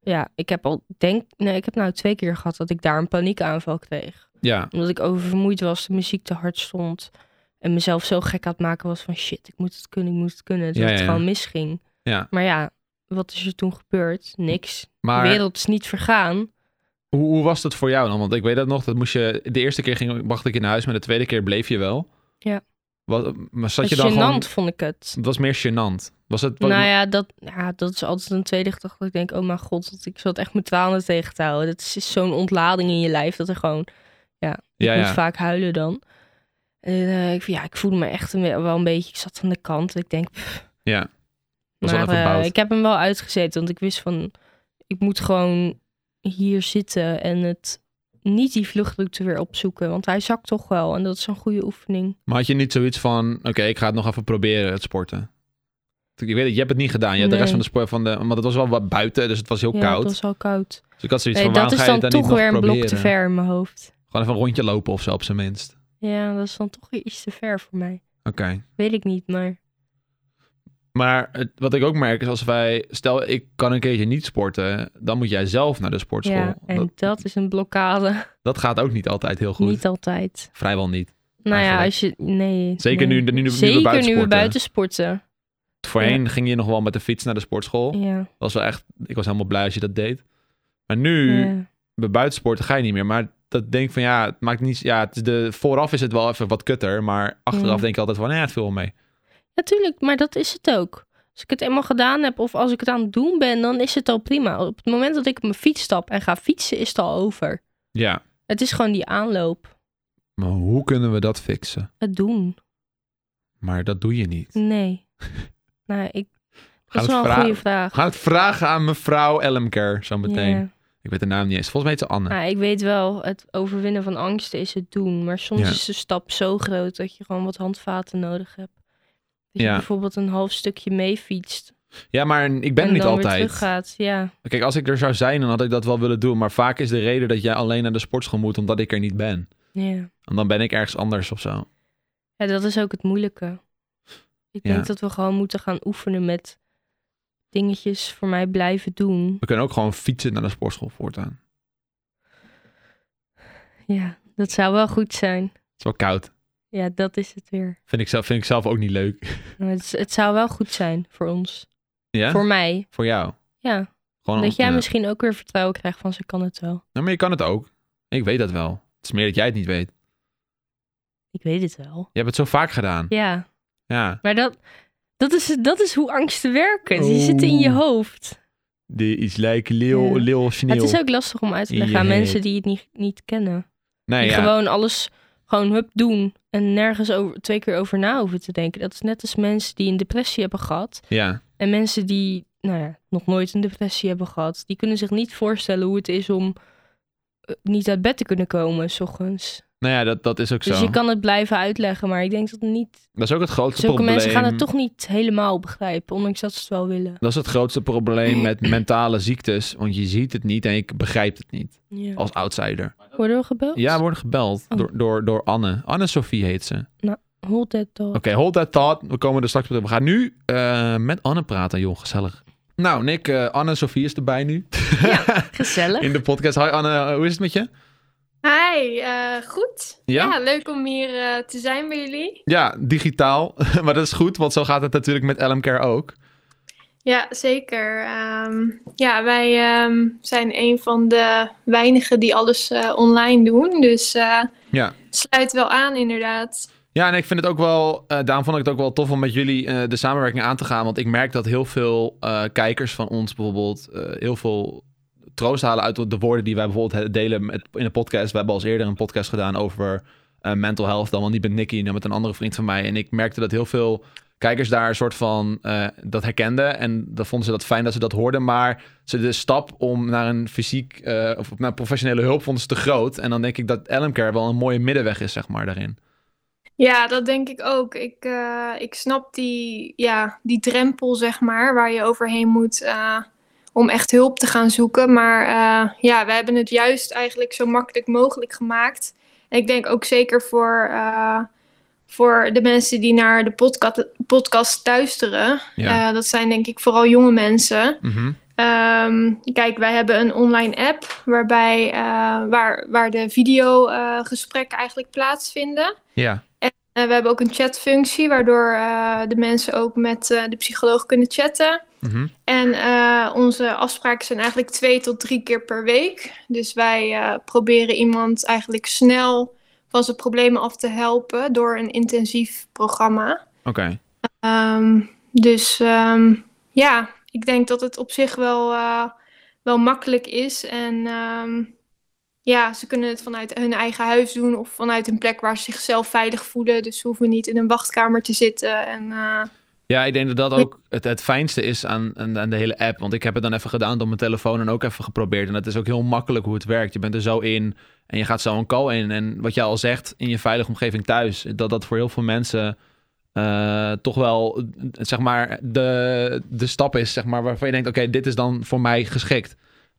Ja, ik heb al denk, nee, ik heb nou twee keer gehad dat ik daar een paniekaanval kreeg. Ja, Omdat ik oververmoeid was, de muziek te hard stond. En mezelf zo gek aan het maken was van shit, ik moet het kunnen, ik moet het kunnen. Dat Ja, het ja. gewoon misging. Ja. Maar ja, wat is er toen gebeurd? Niks. maar De wereld is niet vergaan. hoe, hoe was dat voor jou dan? Want ik weet dat nog, dat moest je, de eerste keer ging, wacht ik in huis, maar de tweede keer bleef je wel. Ja. Wat, maar zat Dat je dan gênant gewoon... vond ik het. Het was meer gênant. Was het... wat- Nou ja dat, ja, dat is altijd een tweede gedachte. dat Ik denk, oh mijn god, dat ik zat echt mijn tranen tegen te houden. Dat is, is zo'n ontlading in je lijf dat er gewoon... ja, ik ja. moest vaak huilen dan. En eh, ik, ja, ik voelde me echt een be- wel een beetje... Ik zat aan de kant. Ik denk, ja. Was wel Maar even eh, bout. ik heb hem wel uitgezet, want ik wist van... Ik moet gewoon hier zitten en het niet die vluchtroute weer opzoeken. Want hij zakt toch wel en dat is een goede oefening. Maar had je niet zoiets van, oké, ik ga het nog even proberen, het sporten? Ik weet het, je hebt het niet gedaan. Je hebt de rest van Nee. de sport van de... Want het was wel wat buiten, dus het was heel ja, koud. dat is al koud. Dus ik had zoiets Nee, van, dat waarom is ga je dan het dan toch niet nog weer een proberen? blok te ver in mijn hoofd. Gewoon even een rondje lopen of zo, op zijn minst. Ja, dat is dan toch weer iets te ver voor mij. Oké. Weet ik niet, maar... Maar het- wat ik ook merk is als wij... Stel, ik kan een keertje niet sporten. Dan moet jij zelf naar de sportschool. Ja, en dat, dat, is een blokkade. [LAUGHS] dat gaat ook niet altijd heel goed. Niet altijd. Vrijwel niet. Nou ja, Eigenlijk. als je... Nee. Zeker nee. nu, nu, nu, Zeker we buiten nu we sporten. buiten sporten. Voorheen ging je nog wel met de fiets naar de sportschool. Ja. Dat was wel echt... Ik was helemaal blij als je dat deed. Maar nu, ja. bij buiten sporten ga je niet meer. Maar dat denk ik van, ja, het maakt niet... Ja, het is de, vooraf is het wel even wat kutter. Maar achteraf Ja. denk ik altijd van, ja, het viel wel mee. Natuurlijk, maar dat is het ook. Als ik het eenmaal gedaan heb of als ik het aan het doen ben, dan is het al prima. Op het moment dat ik op mijn fiets stap en ga fietsen, is het al over. Ja, Het is gewoon die aanloop. maar hoe kunnen we dat fixen? Het doen. Maar dat doe je niet. [LAUGHS] Nee. nou, ik... Gaan dat is we wel een vra- goede vraag. We gaan het vragen aan mevrouw Elmker zo meteen. Ja. Ik weet de naam niet eens. Volgens mij is het Anne. Nou, ik weet wel, het overwinnen van angsten is het doen. Maar soms Ja. is de stap zo groot dat je gewoon wat handvaten nodig hebt. Dat Ja. je bijvoorbeeld een half stukje meefietst. Ja, maar ik ben en er niet dan weer altijd. teruggaat. Ja. Kijk, als ik er zou zijn, dan had ik dat wel willen doen. Maar vaak is de reden dat jij alleen naar de sportschool moet, omdat ik er niet ben. ja. En dan ben ik ergens anders of zo. Ja, dat is ook het moeilijke. Ik Ja. denk dat we gewoon moeten gaan oefenen met dingetjes voor mij blijven doen. We kunnen ook gewoon fietsen naar de sportschool voortaan. Ja, dat zou wel goed zijn. Het is wel koud. Ja, dat is het weer. Vind ik zelf, vind ik zelf ook niet leuk. [LAUGHS] Maar Het, het zou wel goed zijn voor ons. ja? Voor, Voor mij. jou. Ja. Gewoon dat jij ja. misschien ook weer vertrouwen krijgt van ze kan het wel. Nou, maar je kan het ook. Ik weet dat wel. Het is meer dat jij het niet weet. Ik weet het wel. Je hebt het zo vaak gedaan. Ja, Ja. maar dat, dat, is, dat is hoe angsten werken. Die zitten in je Oeh. hoofd. Die is lijken leeuw, Ja. leeuw sneeuw. Het is ook lastig om uit te leggen aan Jeet. mensen die het niet, niet kennen. nee, Nou Die ja. gewoon alles gewoon hup doen en nergens over, twee keer over na hoeven te denken. Dat is net als mensen die een depressie hebben gehad. ja. En mensen die nou ja, nog nooit een depressie hebben gehad, die kunnen zich niet voorstellen hoe het is om eh, niet uit bed te kunnen komen s ochtends. Nou ja, dat, dat is ook Dus zo. je kan het blijven uitleggen, maar ik denk dat niet. Dat is ook het grootste Zulke probleem. mensen gaan het toch niet helemaal begrijpen, ondanks dat ze het wel willen. Dat is het grootste probleem met [CLEARS THROAT] mentale ziektes. Want je ziet het niet en ik begrijp het niet Ja. als outsider. Worden we gebeld? Ja, we worden gebeld Oh. door, door, door Anne. Anne Sophie heet ze. Oké, Hold that thought. hold that thought. We komen er straks op terug. We gaan nu eh, met Anne praten, joh. Gezellig. Nou, Nick, eh, Anne Sophie is erbij nu. Gezellig. In de podcast. Hi Anne, eh, hoe is het met je? Hi, eh, goed. Ja? leuk om hier eh, te zijn bij jullie. Ja, digitaal. [LAUGHS] maar dat is goed, want zo gaat het natuurlijk met LMCare ook. Ja, zeker. Ehm, ja, wij ehm, zijn een van de weinigen die alles eh, online doen. Dus eh, Ja. sluit wel aan, inderdaad. Ja, en ik vind het ook wel, eh, daarom vond ik het ook wel tof om met jullie eh, de samenwerking aan te gaan. Want ik merk dat heel veel eh, kijkers van ons bijvoorbeeld eh, heel veel troost halen uit de woorden die wij bijvoorbeeld he- delen met, in een podcast. We hebben al eens eerder een podcast gedaan over eh, mental health, dan wel niet met Nicky, dan met een andere vriend van mij. En ik merkte dat heel veel kijkers daar een soort van eh, dat herkenden. En dat vonden ze dat fijn dat ze dat hoorden. Maar ze de stap om naar een fysiek eh, of naar professionele hulp vonden ze te groot. En dan denk ik dat Elmcare wel een mooie middenweg is, zeg maar, daarin. Ja, dat denk ik ook. Ik, eh, ik snap die, ja, die drempel, zeg maar, waar je overheen moet eh, om echt hulp te gaan zoeken. Maar eh, ja, we hebben het juist eigenlijk zo makkelijk mogelijk gemaakt. En ik denk ook zeker voor, eh, voor de mensen die naar de podca- podcast luisteren. Ja. Eh, dat zijn denk ik vooral jonge mensen. Mhm. Ehm, kijk, wij hebben een online app waarbij, eh, waar, waar de videogesprekken eigenlijk plaatsvinden. Ja, Eh, we hebben ook een chatfunctie, waardoor eh, de mensen ook met eh, de psycholoog kunnen chatten. Mhm. En eh, onze afspraken zijn eigenlijk twee tot drie keer per week. Dus wij eh, proberen iemand eigenlijk snel van zijn problemen af te helpen door een intensief programma. oké. Ehm, dus ehm, ja, ik denk dat het op zich wel, eh, wel makkelijk is. En ehm, ja, ze kunnen het vanuit hun eigen huis doen of vanuit een plek waar ze zichzelf veilig voelen. Dus ze hoeven niet in een wachtkamer te zitten. En, eh, Ja, ik denk dat dat ook het, het fijnste is aan, aan, aan de hele app. Want ik heb het dan even gedaan op mijn telefoon en ook even geprobeerd. En het is ook heel makkelijk hoe het werkt. Je bent er zo in en je gaat zo een call in. En wat jij al zegt, in je veilige omgeving thuis. Dat dat voor heel veel mensen eh, toch wel, eh, zeg maar, de, de stap is, zeg maar, waarvan je denkt, oké, dit is dan voor mij geschikt. Ja,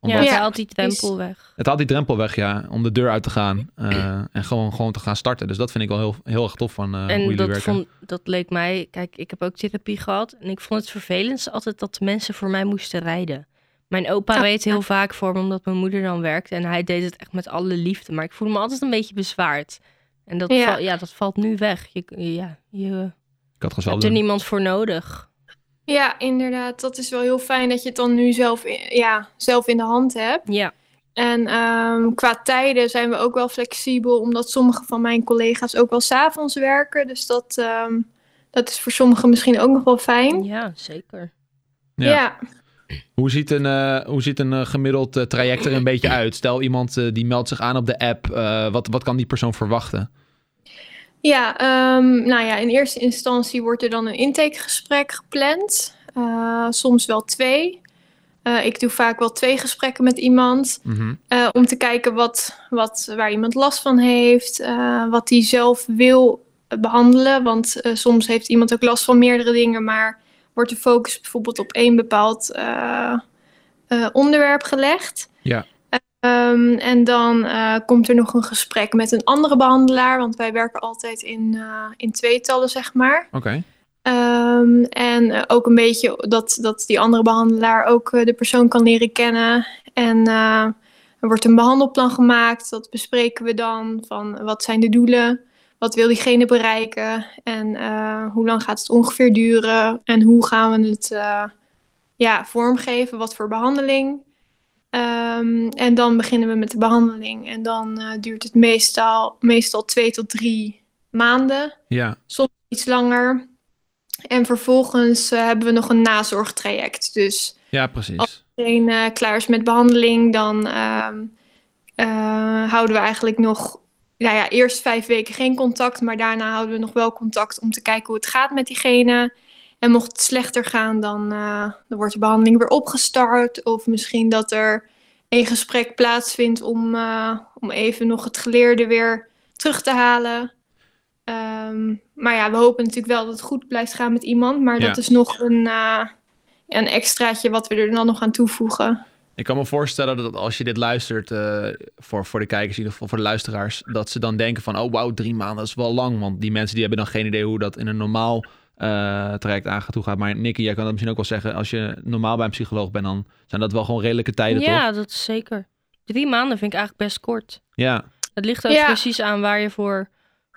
Omdat het Ja, haalt die drempel weg. Het haalt die drempel weg, ja, om de deur uit te gaan eh, en gewoon, gewoon te gaan starten. Dus dat vind ik wel heel, heel erg tof van eh, hoe en jullie dat, werken. vond, dat leek mij... Kijk, ik heb ook therapie gehad. En ik vond het vervelendst altijd dat de mensen voor mij moesten rijden. Mijn opa Ah. reed heel vaak voor me, omdat mijn moeder dan werkte. En hij deed het echt met alle liefde. Maar ik voelde me altijd een beetje bezwaard. En dat, Ja. val- ja, dat valt nu weg. Je, ja, je Ik had het hebt er niemand voor nodig. ja, inderdaad, dat is wel heel fijn dat je het dan nu zelf, i- ja, zelf in de hand hebt. Ja, En ehm, qua tijden zijn we ook wel flexibel, omdat sommige van mijn collega's ook wel s'avonds werken. Dus dat, ehm, dat is voor sommigen misschien ook nog wel fijn. ja zeker. Ja. ja. Hoe ziet een, eh, hoe ziet een eh, gemiddeld eh, traject er een beetje uit? Stel iemand eh, die meldt zich aan op de app. eh, wat, wat kan die persoon verwachten? Ja, ehm, nou ja, in eerste instantie wordt er dan een intakegesprek gepland. Eh, soms wel twee. Eh, ik doe vaak wel twee gesprekken met iemand. Mhm. eh, om te kijken wat, wat, waar iemand last van heeft. eh, wat hij zelf wil eh, behandelen. Want eh, soms heeft iemand ook last van meerdere dingen. Maar wordt de focus bijvoorbeeld op één bepaald eh, eh, onderwerp gelegd. Ja. Ehm, en dan eh, komt er nog een gesprek met een andere behandelaar, want wij werken altijd in, eh, in tweetallen, zeg maar. Oké. Ehm, en eh, ook een beetje dat, dat die andere behandelaar ook eh, de persoon kan leren kennen. En eh, er wordt een behandelplan gemaakt, dat bespreken we dan van wat zijn de doelen, wat wil diegene bereiken en eh, hoe lang gaat het ongeveer duren en hoe gaan we het eh, ja, vormgeven, wat voor behandeling. Ehm, en dan beginnen we met de behandeling en dan eh, duurt het meestal, meestal twee tot drie maanden Ja. iets langer. En vervolgens eh, hebben we nog een nazorgtraject. Dus ja, precies. Als- als iedereen eh, klaar is met behandeling, dan ehm, eh, houden we eigenlijk nog, nou ja, eerst vijf weken geen contact, maar daarna houden we nog wel contact om te kijken hoe het gaat met diegene. En mocht het slechter gaan, dan, eh, dan wordt de behandeling weer opgestart. Of misschien dat er een gesprek plaatsvindt om, eh, om even nog het geleerde weer terug te halen. Ehm, maar ja, we hopen natuurlijk wel dat het goed blijft gaan met iemand. Maar dat Ja. is nog een, eh, een extraatje wat we er dan nog aan toevoegen. Ik kan me voorstellen dat als je dit luistert, eh, voor, voor de kijkers in ieder geval, voor de luisteraars, dat ze dan denken van, oh wauw, drie maanden dat is wel lang. Want die mensen die hebben dan geen idee hoe dat in een normaal eh, traject aan toe gaat. Maar Nicky, jij kan dat misschien ook wel zeggen, als je normaal bij een psycholoog bent, dan zijn dat wel gewoon redelijke tijden, toch? Ja, dat is zeker. Drie maanden vind ik eigenlijk best kort. Ja. Het ligt ook Ja. precies aan waar je voor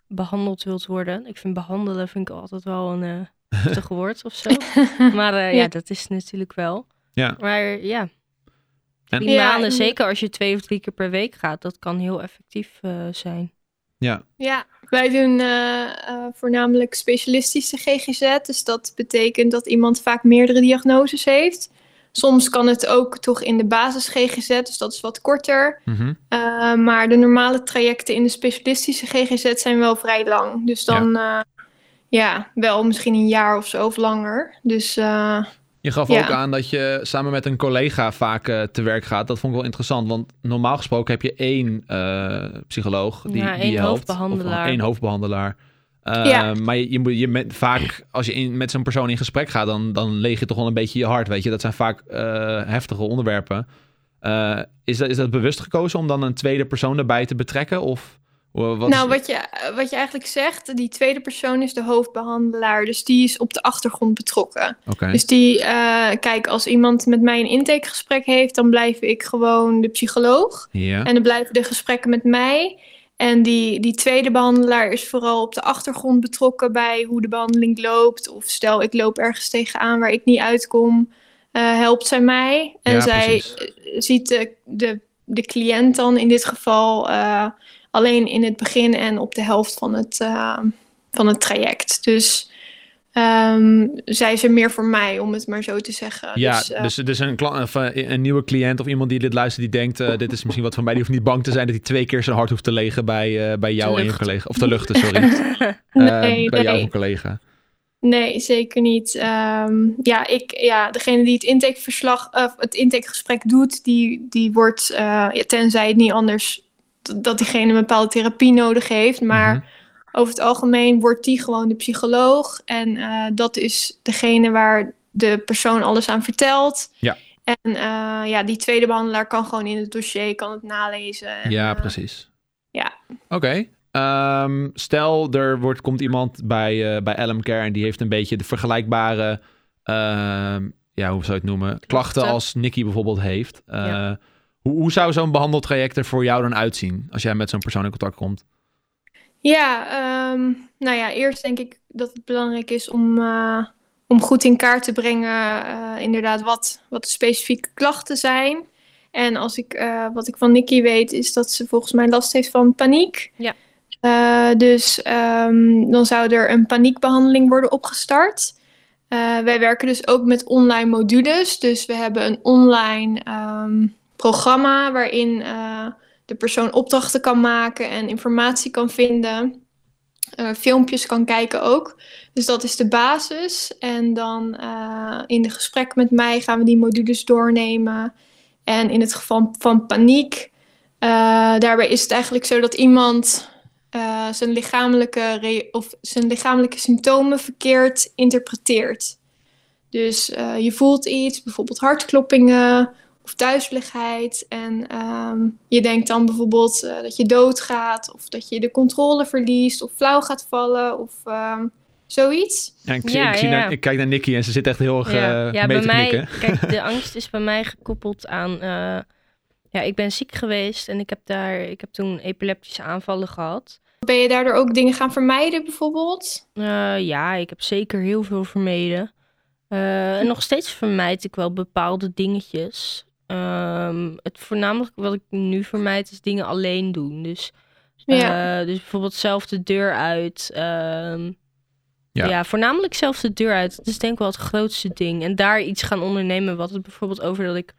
behandeld wilt worden. Ik vind behandelen vind ik altijd wel een eh, [LAUGHS] heftig woord of [LAUGHS] zo. Maar eh, ja. Ja. dat is natuurlijk wel. Ja. Maar ja, En- die Ja, maanden, en- zeker als je twee of drie keer per week gaat, dat kan heel effectief eh, zijn. Ja. Ja, wij doen eh, eh, voornamelijk specialistische GGZ. Dus dat betekent dat iemand vaak meerdere diagnoses heeft. Soms kan het ook toch in de basis GGZ, dus dat is wat korter. Mhm. Eh, maar de normale trajecten in de specialistische GGZ zijn wel vrij lang. Dus dan, eh, ja. ja, wel misschien een jaar of zo of langer. Dus eh, Je gaf Ja. ook aan dat je samen met een collega vaak eh, te werk gaat. Dat vond ik wel interessant, want normaal gesproken heb je één eh, psycholoog die, Ja, die één je helpt. hoofdbehandelaar. Of één hoofdbehandelaar. Eh, Ja. Maar je, je, moet- je met, vaak, als je in, met zo'n persoon in gesprek gaat, dan, dan leeg je toch wel een beetje je hart, weet je. Dat zijn vaak eh, heftige onderwerpen. Eh, is, dat, is dat bewust gekozen om dan een tweede persoon erbij te betrekken? Of, eh, wat nou, is- wat je, eh, wat je eigenlijk zegt, die tweede persoon is de hoofdbehandelaar. Dus die is op de achtergrond betrokken. Oké. Dus die, eh, kijk, als iemand met mij een intakegesprek heeft, dan blijf ik gewoon de psycholoog. Ja. En dan blijven de gesprekken met mij. En die, die tweede behandelaar is vooral op de achtergrond betrokken bij hoe de behandeling loopt. Of stel, ik loop ergens tegenaan waar ik niet uitkom, eh, helpt zij mij. En Ja, zij precies. eh, ziet de, de, de cliënt dan in dit geval eh, alleen in het begin en op de helft van het, eh, van het traject. Dus ehm, zij is er meer voor mij, om het maar zo te zeggen. Ja, dus, eh, dus, dus een, kla- of, eh, een nieuwe cliënt of iemand die dit luistert, die denkt: eh, Dit is misschien wat van mij. Die hoeft niet bang te zijn dat hij twee keer zijn hart hoeft te legen bij, eh, bij jou Te en je luchten. collega. Of te luchten, [LAUGHS] [LAUGHS] sorry. Eh, nee, bij jou en nee. je collega. Nee, zeker niet. Ehm, ja, ik, ja, degene die het intakeverslag, of het intakegesprek doet, die, die wordt, eh, ja, tenzij het niet anders, d- dat diegene een bepaalde therapie nodig heeft. Maar Mhm. over het algemeen wordt die gewoon de psycholoog. En eh, dat is degene waar de persoon alles aan vertelt. Ja. En eh, ja, die tweede behandelaar kan gewoon in het dossier, kan het nalezen. En, Ja, eh, precies. ja. Oké. Ehm, stel, er wordt, komt iemand bij, eh bij LM Care en die heeft een beetje de vergelijkbare, ehm, ja, hoe zou je het noemen, klachten Klachten. als Nicky bijvoorbeeld heeft. Eh, Ja. hoe, hoe zou zo'n behandeltraject er voor jou dan uitzien als jij met zo'n persoon in contact komt? Ja, ehm, nou ja, eerst denk ik dat het belangrijk is om, eh, om goed in kaart te brengen, eh, inderdaad, wat, wat de specifieke klachten zijn. En als ik, eh, wat ik van Nikki weet, is dat ze volgens mij last heeft van paniek. Ja. Eh, dus ehm, dan zou er een paniekbehandeling worden opgestart. Eh, wij werken dus ook met online modules. Dus we hebben een online ehm, programma waarin eh, de persoon opdrachten kan maken en informatie kan vinden. eh, filmpjes kan kijken ook. Dus dat is de basis. En dan eh, in de gesprek met mij gaan we die modules doornemen. En in het geval van paniek, eh, daarbij is het eigenlijk zo dat iemand eh, zijn, lichamelijke re- of zijn lichamelijke symptomen verkeerd interpreteert. Dus eh, je voelt iets, bijvoorbeeld hartkloppingen of duizeligheid. En ehm, je denkt dan bijvoorbeeld eh, dat je doodgaat, of dat je de controle verliest, of flauw gaat vallen, of ehm, zoiets. Ja, ik, zie, Ja, ik, zie ja. naar- ik kijk naar Nicky en ze zit echt heel erg ja, eh, ja mee bij te mij, knikken. kijk, [LAUGHS] de angst is bij mij gekoppeld aan. eh, ja, ik ben ziek geweest en ik heb, daar, ik heb toen epileptische aanvallen gehad. Ben je daardoor ook dingen gaan vermijden, bijvoorbeeld? Eh, ja, ik heb zeker heel veel vermeden. Eh, en nog steeds vermijd ik wel bepaalde dingetjes. Ehm, het voornamelijk wat ik nu vermijd is dingen alleen doen. Dus, eh, Ja. dus bijvoorbeeld zelf de deur uit. ehm, Ja. ja. voornamelijk zelf de deur uit. Dat is denk ik wel het grootste ding. En daar iets gaan ondernemen. Wat het bijvoorbeeld over dat ik.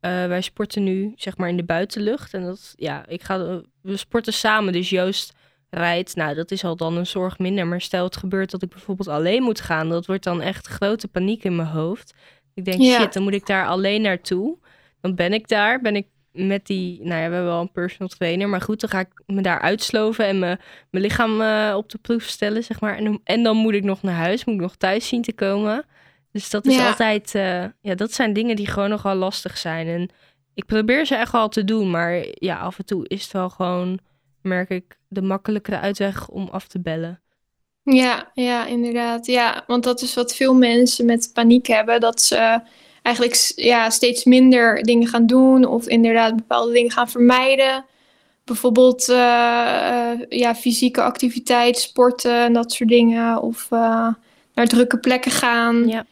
eh, wij sporten nu zeg maar in de buitenlucht. En dat ja, ik ga. We sporten samen. Dus Joost rijdt, nou, dat is al dan een zorg minder. Maar stel het gebeurt dat ik bijvoorbeeld alleen moet gaan, dat wordt dan echt grote paniek in mijn hoofd. Ik denk, Ja. shit, dan moet ik daar alleen naartoe. Dan ben ik daar, ben ik met die, nou ja, we hebben wel een personal trainer, maar goed, dan ga ik me daar uitsloven en me, mijn lichaam eh, op de proef stellen, zeg maar. En, dan- en dan moet ik nog naar huis, moet ik nog thuis zien te komen. Dus dat is Ja. altijd, eh, ja, dat zijn dingen die gewoon nogal lastig zijn. En ik probeer ze echt wel te doen, maar ja, af en toe is het wel gewoon merk ik de makkelijkere uitweg om af te bellen. Ja, ja, inderdaad. Ja, want dat is wat veel mensen met paniek hebben. Dat ze eh, eigenlijk s- ja, steeds minder dingen gaan doen. Of inderdaad bepaalde dingen gaan vermijden. Bijvoorbeeld eh, eh, ja, fysieke activiteit, sporten en dat soort dingen. Of eh, naar drukke plekken gaan. Ja.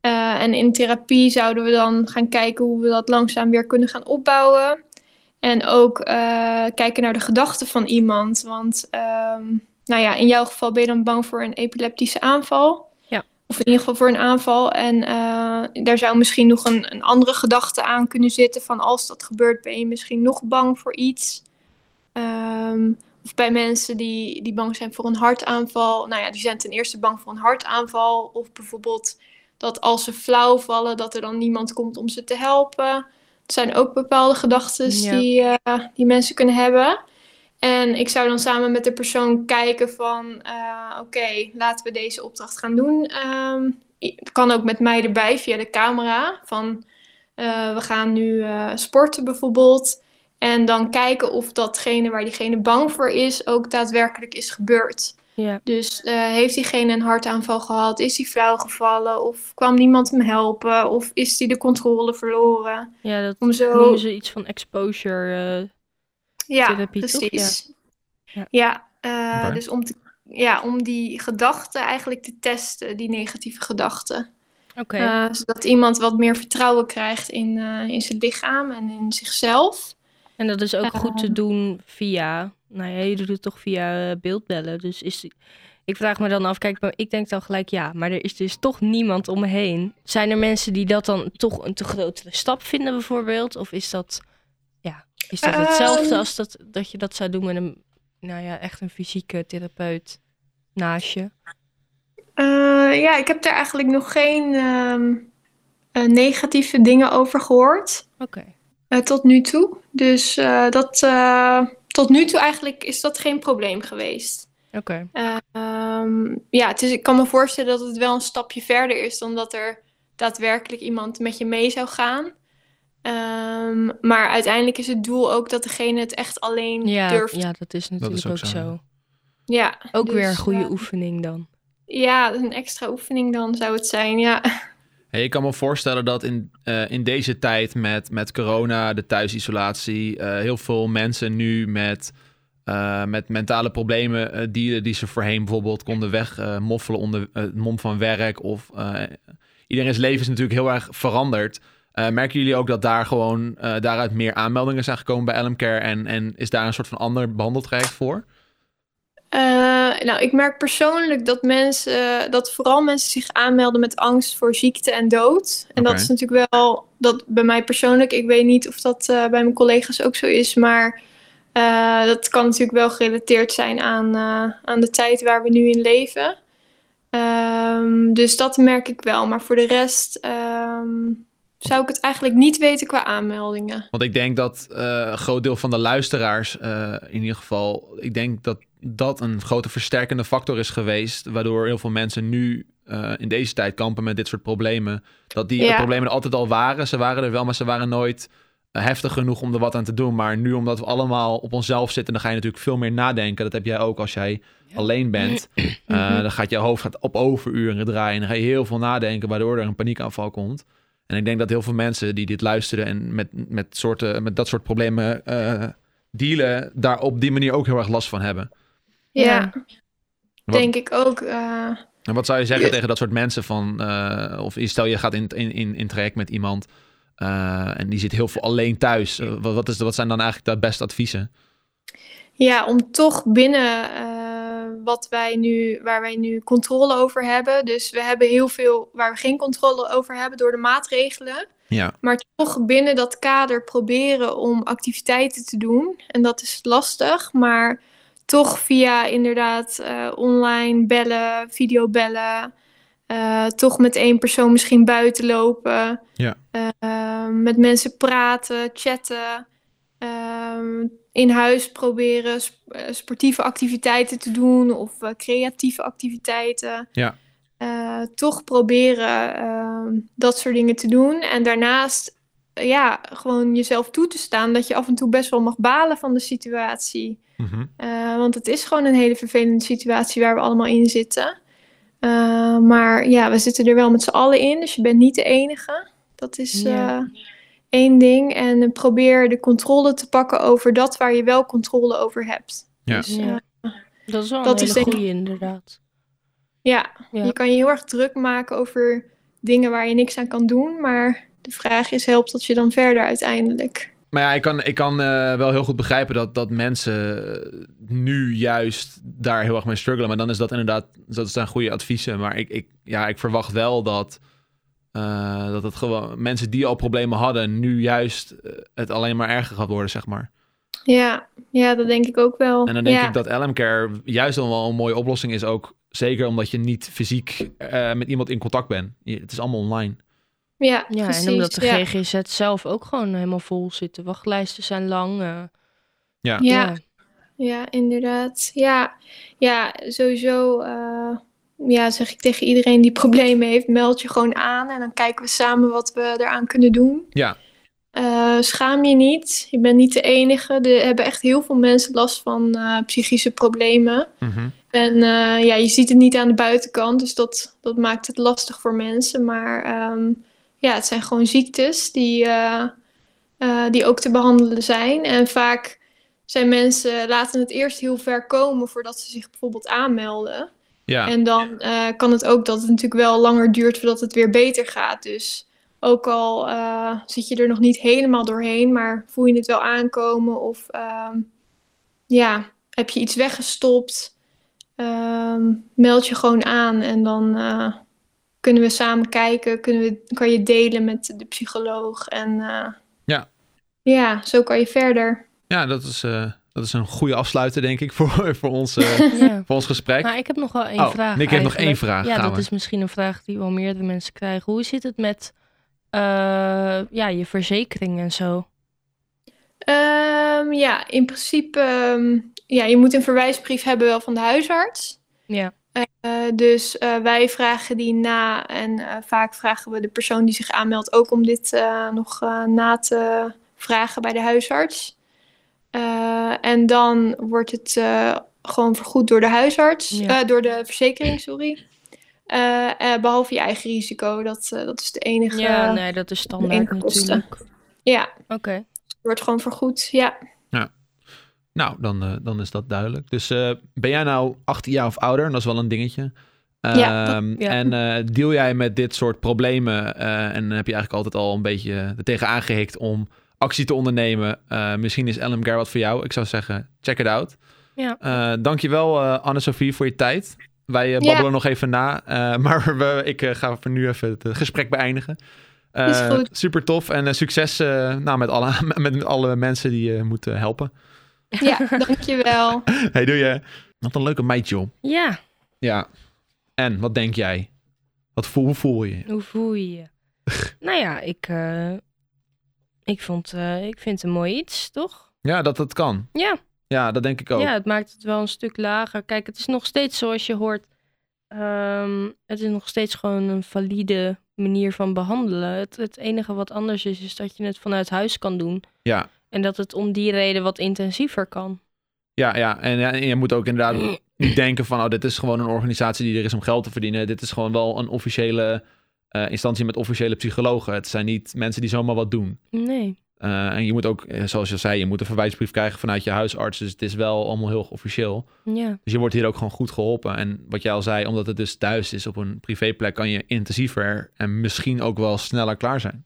Eh, en in therapie zouden we dan gaan kijken hoe we dat langzaam weer kunnen gaan opbouwen. En ook eh, kijken naar de gedachten van iemand. Want ehm, nou ja, in jouw geval ben je dan bang voor een epileptische aanval. Ja. Of in ieder geval voor een aanval. En eh, daar zou misschien nog een, een andere gedachte aan kunnen zitten. Van als dat gebeurt, ben je misschien nog bang voor iets. Ehm, Of bij mensen die, die bang zijn voor een hartaanval. Nou ja, die zijn ten eerste bang voor een hartaanval. Of bijvoorbeeld dat als ze flauw vallen, dat er dan niemand komt om ze te helpen. Er zijn ook bepaalde gedachten Ja. die, eh, die mensen kunnen hebben. En ik zou dan samen met de persoon kijken van, eh, oké, laten we deze opdracht gaan doen. Ehm, i- het kan ook met mij erbij via de camera. Van, eh, we gaan nu eh, sporten bijvoorbeeld. En dan kijken of datgene waar diegene bang voor is, ook daadwerkelijk is gebeurd. Ja. Dus eh, heeft diegene een hartaanval gehad? Is hij flauw gevallen? Of kwam niemand hem helpen? Of is hij de controle verloren? ja, dat Om zo... noemen ze iets van exposure. eh, Ja, Therapie, toch? precies. Ja. Ja, eh, Oké. dus om, te, ja, om die gedachten eigenlijk te testen, die negatieve gedachten. Oké, Eh, zodat iemand wat meer vertrouwen krijgt in, eh, in zijn lichaam en in zichzelf. en dat is ook goed te doen via... Nou ja, je doet het toch via eh, beeldbellen. Dus is, ik vraag me dan af, kijk, maar ik denk dan gelijk ja. Maar er is dus toch niemand om me heen. Zijn er mensen die dat dan toch een te grotere stap vinden bijvoorbeeld? Of is dat, ja, is dat hetzelfde Ehm. als dat, dat je dat zou doen met een... Nou ja, echt een fysieke therapeut naast je? Eh, ja, ik heb daar eigenlijk nog geen ehm, eh, negatieve dingen over gehoord. Oké. eh, tot nu toe. Dus eh, dat, eh, tot nu toe eigenlijk is dat geen probleem geweest. Oké. Eh, ehm, ja, het is, ik kan me voorstellen dat het wel een stapje verder is dan dat er daadwerkelijk iemand met je mee zou gaan. Ehm, maar uiteindelijk is het doel ook dat degene het echt alleen Ja, durft. Ja, ja, dat is natuurlijk ook ook, zo, zo. ja. Ook weer een dus, goede eh, oefening dan. ja, een extra oefening dan zou het zijn. Ja, Hey, ik kan me voorstellen dat in, eh, in deze tijd met, met corona, de thuisisolatie, eh, heel veel mensen nu met, eh, met mentale problemen eh, die, die ze voorheen bijvoorbeeld konden wegmoffelen onder eh, het mom van werk. Of eh, iedereen's leven is natuurlijk heel erg veranderd. Eh, merken jullie ook dat daar gewoon eh, daaruit meer aanmeldingen zijn gekomen bij Elmcare en, en is daar een soort van ander behandeltraject voor? Eh, nou, ik merk persoonlijk dat mensen, eh, dat vooral mensen zich aanmelden met angst voor ziekte en dood. En Oké. dat is natuurlijk wel, dat bij mij persoonlijk, ik weet niet of dat eh, bij mijn collega's ook zo is, maar eh, dat kan natuurlijk wel gerelateerd zijn aan, eh, aan de tijd waar we nu in leven. Ehm, dus dat merk ik wel, maar voor de rest ehm, zou ik het eigenlijk niet weten qua aanmeldingen. Want ik denk dat eh, een groot deel van de luisteraars, eh, in ieder geval, ik denk dat dat een grote versterkende factor is geweest, waardoor heel veel mensen nu eh, in deze tijd kampen met dit soort problemen. Dat die Ja. de problemen er altijd al waren, ze waren er wel, maar ze waren nooit eh, heftig genoeg om er wat aan te doen. Maar nu, omdat we allemaal op onszelf zitten, dan ga je natuurlijk veel meer nadenken. Dat heb jij ook als jij alleen bent. Eh, dan gaat je hoofd gaat op overuren draaien. Dan ga je heel veel nadenken, waardoor er een paniekaanval komt. En ik denk dat heel veel mensen die dit luisteren en met, met, soorten, met dat soort problemen eh, dealen, daar op die manier ook heel erg last van hebben. Ja, Wat- denk ik ook. eh, En wat zou je zeggen Ja. tegen dat soort mensen van, eh, of stel je gaat in, in, in, in traject met iemand eh, en die zit heel veel alleen thuis. Eh, wat, wat, is, wat zijn dan eigenlijk de beste adviezen? Ja, om toch binnen eh, wat wij nu, waar wij nu controle over hebben. Dus we hebben heel veel waar we geen controle over hebben door de maatregelen. Ja, Maar toch binnen dat kader proberen om activiteiten te doen. En dat is lastig, maar toch via inderdaad eh, online bellen, videobellen. eh, toch met één persoon misschien buiten lopen. Ja. Eh, met mensen praten, chatten. Ehm, in huis proberen sp- eh, sportieve activiteiten te doen of eh, creatieve activiteiten. Ja. Eh, toch proberen ehm, dat soort dingen te doen. En daarnaast eh, ja, gewoon jezelf toe te staan dat je af en toe best wel mag balen van de situatie. Eh, want het is gewoon een hele vervelende situatie waar we allemaal in zitten. Eh, maar ja, we zitten er wel met z'n allen in, dus je bent niet de enige. Dat is Ja. eh, één ding. En eh, probeer de controle te pakken over dat waar je wel controle over hebt. Ja. Dus, Ja. eh, Dat is wel dat een is hele denk- goede inderdaad. ja. Ja. je kan je heel erg druk maken over dingen waar je niks aan kan doen. Maar de vraag is, helpt dat je dan verder uiteindelijk? Maar ja, ik kan, ik kan eh, wel heel goed begrijpen dat, dat mensen eh, nu juist daar heel erg mee struggelen. Maar dan is dat inderdaad, dat zijn goede adviezen. Maar ik, ik, ja, ik verwacht wel dat, eh, dat het gewoon, mensen die al problemen hadden, nu juist eh, het alleen maar erger gaat worden, zeg maar. Ja, ja, dat denk ik ook wel. En dan denk ja. ik dat LMcare juist dan wel een mooie oplossing is ook. Zeker omdat je niet fysiek eh, met iemand in contact bent. Je- het is allemaal online. Ja, Ja, precies. en omdat de ja. GGZ zelf ook gewoon helemaal vol zit. De wachtlijsten zijn lang. eh, Ja, Ja, inderdaad. Ja, ja sowieso eh, ja, zeg ik tegen iedereen die problemen heeft, meld je gewoon aan en dan kijken we samen wat we eraan kunnen doen. Ja. Eh, schaam je niet, je bent niet de enige. Er hebben echt heel veel mensen last van eh, psychische problemen. En eh, ja, je ziet het niet aan de buitenkant, dus dat, dat maakt het lastig voor mensen. Maar ehm, ja, het zijn gewoon ziektes die, eh, eh, die ook te behandelen zijn. En vaak zijn mensen laten het eerst heel ver komen voordat ze zich bijvoorbeeld aanmelden. Ja. En dan eh, kan het ook dat het natuurlijk wel langer duurt voordat het weer beter gaat. Dus ook al eh, zit je er nog niet helemaal doorheen, maar voel je het wel aankomen of ehm, ja, heb je iets weggestopt, ehm, meld je gewoon aan en dan eh, kunnen we samen kijken, kunnen we, kan je delen met de psycholoog en eh, Ja. ja, zo kan je verder. ja, dat is, eh, dat is een goede afsluiter, denk ik, [LAUGHS] voor, voor, ons, [LAUGHS] eh, ja. voor ons gesprek. Maar ik heb nog wel één Oh, vraag. Nick heeft nog eigenlijk. één vraag, Ja, gaan dat we. is misschien een vraag die wel meerdere mensen krijgen. Hoe zit het met eh, ja, je verzekering en zo? Ehm, ja, in principe, ehm, ja, je moet een verwijsbrief hebben wel van de huisarts. Ja, Eh, dus eh, wij vragen die na en eh, vaak vragen we de persoon die zich aanmeldt ook om dit eh, nog eh, na te vragen bij de huisarts. Eh, en dan wordt het eh, gewoon vergoed door de huisarts, Ja. eh, door de verzekering, sorry. Eh, eh, behalve je eigen risico, dat, eh, dat is de enige. ja nee, dat is standaard enige kosten. natuurlijk. ja, het Oké. wordt gewoon vergoed, ja. Nou, dan, eh, dan is dat duidelijk. Dus eh, ben jij nou 18 jaar of ouder? Dat is wel een dingetje. Ja, dat- Ehm, ja. En eh, deal jij met dit soort problemen eh, en heb je eigenlijk altijd al een beetje er tegen aangehikt om actie te ondernemen? Eh, misschien is LMGare wat voor jou. Ik zou zeggen, check it out. Ja. Eh, dankjewel eh Anne-Sophie voor je tijd. Wij eh, Ja. babbelen nog even na, eh, [LAUGHS] maar we, ik eh, ga voor nu even het eh, gesprek beëindigen. Eh, Is goed. Super tof en eh, succes eh, nou, met, alle, [LAUGHS] met alle mensen die je moeten helpen. Ja, dankjewel. [LAUGHS] Hey, doe je. Wat een leuke meid, joh. [LAUGHS] Ja, Ja. En, wat denk jij? Wat voel, hoe voel je? hoe voel je je? nou ja, ik, eh, ik, vond, eh, ik vind het een mooi iets, toch? Ja, dat dat kan. Ja. Ja, dat denk ik ook. Ja, het maakt het wel een stuk lager. Kijk, het is nog steeds zoals je hoort. ehm, het is nog steeds gewoon een valide manier van behandelen. Het, het enige wat anders is, is dat je het vanuit huis kan doen. Ja. En dat het om die reden wat intensiever kan. Ja, ja. En, ja, en je moet ook inderdaad niet denken van... oh, dit is gewoon een organisatie die er is om geld te verdienen. Dit is gewoon wel een officiële eh, instantie met officiële psychologen. Het zijn niet mensen die zomaar wat doen. Nee. Eh, en je moet ook, eh, zoals je zei... je moet een verwijsbrief krijgen vanuit je huisarts. Dus het is wel allemaal heel officieel. Ja. Dus je wordt hier ook gewoon goed geholpen. En wat jij al zei, omdat het dus thuis is op een privéplek... kan je intensiever en misschien ook wel sneller klaar zijn.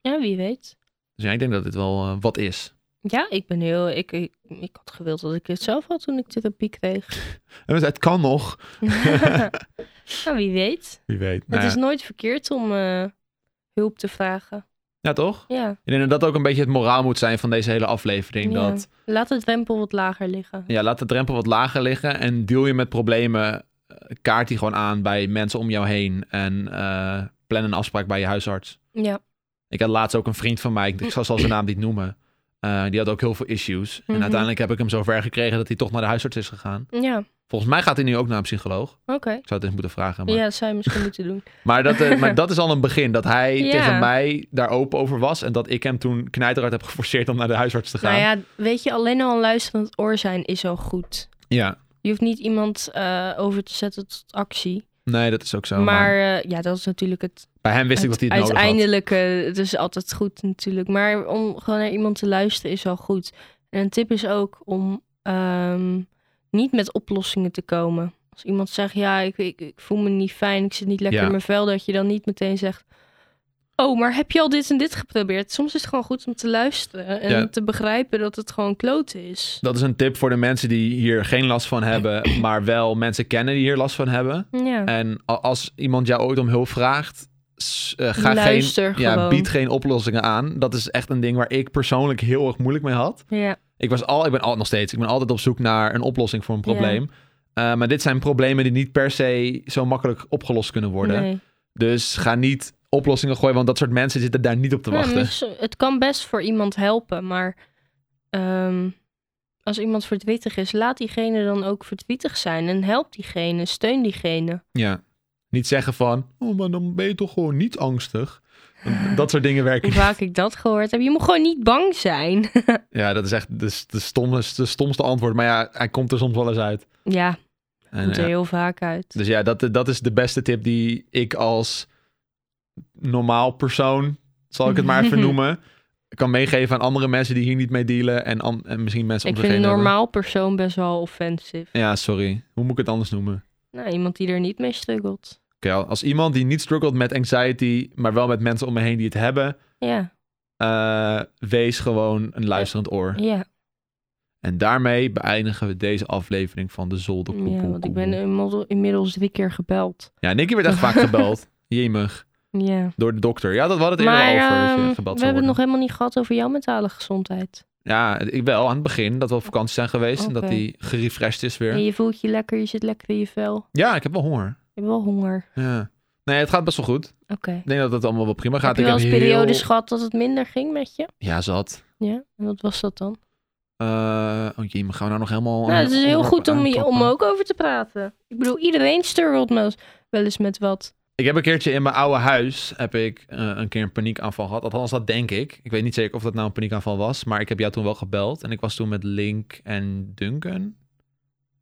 Ja, wie weet. Dus ja, ik denk dat dit wel eh, wat is. Ja, ik ben heel. Ik, ik, ik had gewild dat ik het zelf had toen ik therapie [LAUGHS] kreeg. En dus het kan nog. nou, wie weet. Wie weet. Het is nooit verkeerd om eh, hulp te vragen. Ja, toch? Ja. Ik denk dat dat ook een beetje het moraal moet zijn van deze hele aflevering. ja. Dat Laat het drempel wat lager liggen. ja, laat de drempel wat lager liggen en deal je met problemen. eh, Kaart die gewoon aan bij mensen om jou heen en eh, plan een afspraak bij je huisarts. Ja. Ik had laatst ook een vriend van mij, ik zal zal zijn naam niet noemen. eh, die had ook heel veel issues. En Mhm. uiteindelijk heb ik hem zover gekregen dat hij toch naar de huisarts is gegaan. Ja. Volgens mij gaat hij nu ook naar een psycholoog. Oké. Ik zou het eens moeten vragen. Maar... Ja, dat zou [LAUGHS] je misschien moeten doen. Maar dat, eh, [LAUGHS] maar dat is al een begin. Dat hij Ja. tegen mij daar open over was. En dat ik hem toen knijterhard heb geforceerd om naar de huisarts te gaan. Nou ja, weet je, alleen al een luisterend oor zijn is al goed. Ja. Je hoeft niet iemand eh, over te zetten tot actie. Nee, dat is ook zo. maar Maar, eh, ja, dat is natuurlijk het, bij hem wist ik dat hij het nodig had. uiteindelijke. eh, Het is altijd goed natuurlijk. Maar om gewoon naar iemand te luisteren is al goed. En een tip is ook om ehm, niet met oplossingen te komen. Als iemand zegt, ja, ik, ik, ik voel me niet fijn, ik zit niet lekker Ja. in mijn vel, dat je dan niet meteen zegt, oh, maar heb je al dit en dit geprobeerd? Soms is het gewoon goed om te luisteren en Ja. te begrijpen dat het gewoon kloten is. Dat is een tip voor de mensen die hier geen last van [CLEARS THROAT] hebben. Maar wel mensen kennen die hier last van hebben. Ja, En a- als iemand jou ooit om hulp vraagt. s- eh, ga Luister geen, ja, gewoon. bied geen oplossingen aan. Dat is echt een ding waar ik persoonlijk heel erg moeilijk mee had. ja, Ik, was al, ik ben al, nog steeds, ik ben altijd op zoek naar een oplossing voor een Ja. probleem. Eh, maar dit zijn problemen die niet per se zo makkelijk opgelost kunnen worden. Nee. Dus ga niet oplossingen gooien, want dat soort mensen zitten daar niet op te Ja, wachten. maar zo- het kan best voor iemand helpen, maar ehm, als iemand verdrietig is, laat diegene dan ook verdrietig zijn en help diegene, steun diegene. Ja. Niet zeggen van, oh, maar dan ben je toch gewoon niet angstig. Dat soort dingen werken [LAUGHS] Hoe niet. vaak ik dat gehoord heb, je moet gewoon niet bang zijn. [LAUGHS] Ja, dat is echt de, de, stomme, de stomste antwoord. Maar ja, hij komt er soms wel eens uit. ja, En, komt er ja. heel vaak uit. Dus ja, dat, dat is de beste tip die ik als normaal persoon, zal ik het maar [LAUGHS] even noemen, kan meegeven aan andere mensen die hier niet mee dealen. En, an- en misschien mensen om Ik zich vind een heen hebben. normaal persoon best wel offensive. Ja, sorry. Hoe moet ik het anders noemen? Nou, iemand die er niet mee struggelt. Oké, als iemand die niet struggelt met anxiety, maar wel met mensen om me heen die het hebben, Ja, eh, wees gewoon een luisterend oor. ja, En daarmee beëindigen we deze aflevering van de Zolderkoepel. ja, want ik ben inmiddel- inmiddels drie keer gebeld. Ja, Nicky werd echt [LAUGHS] vaak gebeld. Jemig. Ja. Door de dokter. Ja, dat had het eerder Maar over. dat je ehm, gebeld we zou hebben het worden. nog helemaal niet gehad over jouw mentale gezondheid. Ja, ik wel aan het begin dat we op vakantie zijn geweest en dat Oké. die gerefreshed is weer. En je voelt je lekker, je zit lekker in je vel. Ja, ik heb wel honger. Ik heb wel honger. Ja. Nee, het gaat best wel goed. Oké. Ik denk dat het allemaal wel prima gaat. Heb je ik wel eens heel- periodes gehad dat het minder ging met je? Ja, zat. Ja, en wat was dat dan? Eh oh jee, maar gaan we nou nog helemaal... nou, het is heel onderwerpen goed om, je- om aanklappen? ook over te praten. Ik bedoel, iedereen struggelt wel eens- wel eens met wat. Ik heb een keertje in mijn oude huis heb ik, eh, een keer een paniekaanval gehad. Althans, dat denk ik. Ik weet niet zeker of dat nou een paniekaanval was. Maar ik heb jou toen wel gebeld. En ik was toen met Link en Duncan.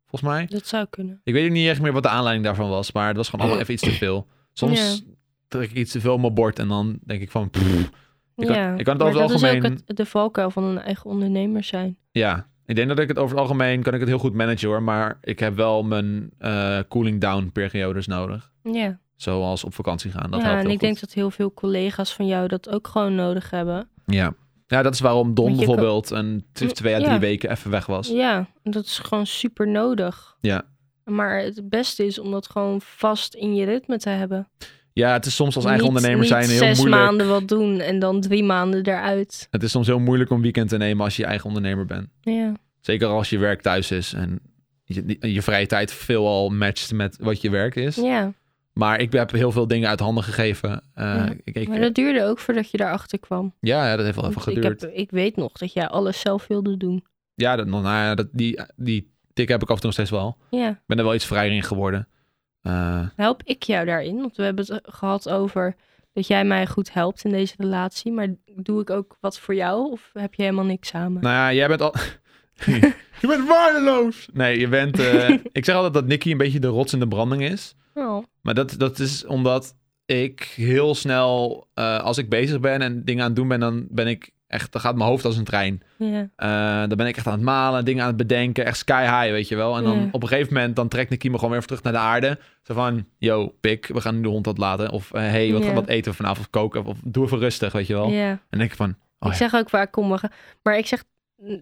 Volgens mij. Dat zou kunnen. Ik weet ook niet echt meer wat de aanleiding daarvan was. Maar het was gewoon allemaal even iets te veel. Soms trek ik iets te veel op mijn bord. En dan denk ik van... pff, Ik kan- ja. ik kan het maar over het dat is algemeen- ook het, de valkuil van een eigen ondernemer zijn. ja. Ik denk dat ik het over het algemeen... Kan ik het heel goed managen hoor. Maar ik heb wel mijn eh, cooling down periodes nodig. Ja, Zoals op vakantie gaan. Dat ja helpt en ik heel goed. denk dat heel veel collega's van jou dat ook gewoon nodig hebben. Ja. Ja, dat is waarom Don Want je kan- bijvoorbeeld een t- twee à drie Ja. weken even weg was. Ja, dat is gewoon super nodig. Ja. Maar het beste is om dat gewoon vast in je ritme te hebben. Ja, het is soms als eigen Niet- ondernemer niet zijn heel zes moeilijk. maanden wat doen en dan drie maanden eruit. Het is soms heel moeilijk om weekend te nemen als je eigen ondernemer bent. Ja. Zeker als je werk thuis is en je, je vrije tijd veelal matcht met wat je werk is. Ja, Maar ik heb heel veel dingen uit handen gegeven. Eh, Ja, ik, ik- maar dat duurde ook voordat je daarachter kwam. ja, ja, dat heeft wel even Want ik, geduurd. heb, ik weet nog dat jij alles zelf wilde doen. Ja, dat, nou ja, dat, die, die tik heb ik af en toe nog steeds wel. Ja, Ik ben er wel iets vrijer in geworden. Eh, help ik jou daarin? Want we hebben het gehad over dat jij mij goed helpt in deze relatie. Maar doe ik ook wat voor jou of heb je helemaal niks samen? Nou ja, jij bent al. [LAUGHS] je bent waardeloos! Nee, je bent. [LAUGHS] eh, ik zeg altijd dat Nicky een beetje de rots in de branding is. Oh, Maar dat, dat is omdat ik heel snel, eh, als ik bezig ben en dingen aan het doen ben, dan ben ik echt. Dan gaat mijn hoofd als een trein. ja. Eh, dan ben ik echt aan het malen, dingen aan het bedenken, echt sky high, weet je wel. En dan Ja. op een gegeven moment, dan trekt Nicky me gewoon weer even terug naar de aarde. Zo van, yo, pik, we gaan nu de hond laten. Of, eh, hey, wat, Ja. wat eten we vanavond? Of koken? Of, of doe even rustig, weet je wel. En ja. dan denk ik van, Oh ik ja. zeg ook vaak kom we gaan. Maar ik zeg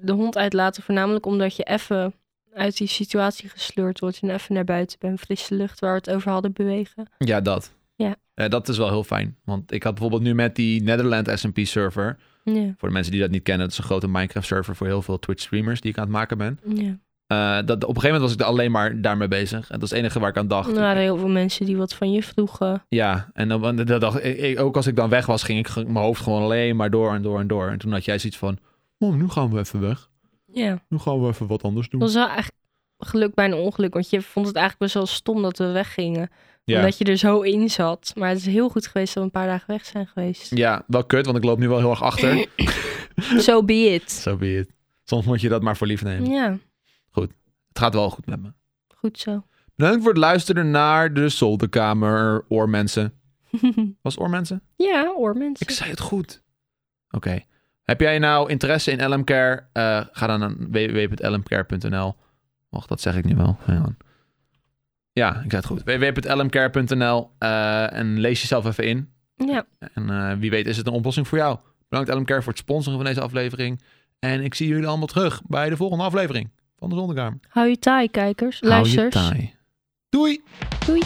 de hond uitlaten voornamelijk omdat je even uit die situatie gesleurd wordt en even naar buiten bent. Frisse lucht waar we het over hadden bewegen. Ja, dat. Ja. Eh, dat is wel heel fijn. Want ik had bijvoorbeeld nu met die Netherland S&P server. Ja, Voor de mensen die dat niet kennen, dat is een grote Minecraft server voor heel veel Twitch streamers die ik aan het maken ben. ja. Eh, dat, op een gegeven moment was ik er alleen maar daarmee bezig. En dat is het enige waar ik aan dacht. Er waren heel veel mensen die wat van je vroegen. Ja, en dan, want dat dacht, ik, ik- ook als ik dan weg was, ging ik ge- mijn hoofd gewoon alleen maar door en door en door. En toen had jij zoiets van, oh, nu gaan we even weg. Ja, Nu gaan we even wat anders doen. dat was wel eigenlijk geluk bij een ongeluk. Want je vond het eigenlijk best wel stom dat we weggingen. ja. Omdat je er zo in zat. Maar het is heel goed geweest dat we een paar dagen weg zijn geweest. ja, wel kut, want ik loop nu wel heel erg achter. [LAUGHS] So be it. Zo be it. Soms moet je dat maar voor lief nemen. Ja, Het gaat wel goed met me. goed zo. [LAUGHS] Bedankt voor het luisteren naar de zolderkamer oormensen. Was het oormensen? ja, hoor mensen. Ik zei het goed. Oké. Heb jij nou interesse in LMcare? Eh, ga dan naar www.lmcare.nl. Wacht, dat zeg ik nu wel. Hang on. Ja, ik zei het goed. www.lmcare.nl eh, en lees jezelf even in. Ja, En eh, wie weet is het een oplossing voor jou. Bedankt LMcare voor het sponsoren van deze aflevering. En ik zie jullie allemaal terug bij de volgende aflevering van de Zolderkamer. hou je taai, kijkers. Hou je Luisters. taai. Doei! Doei.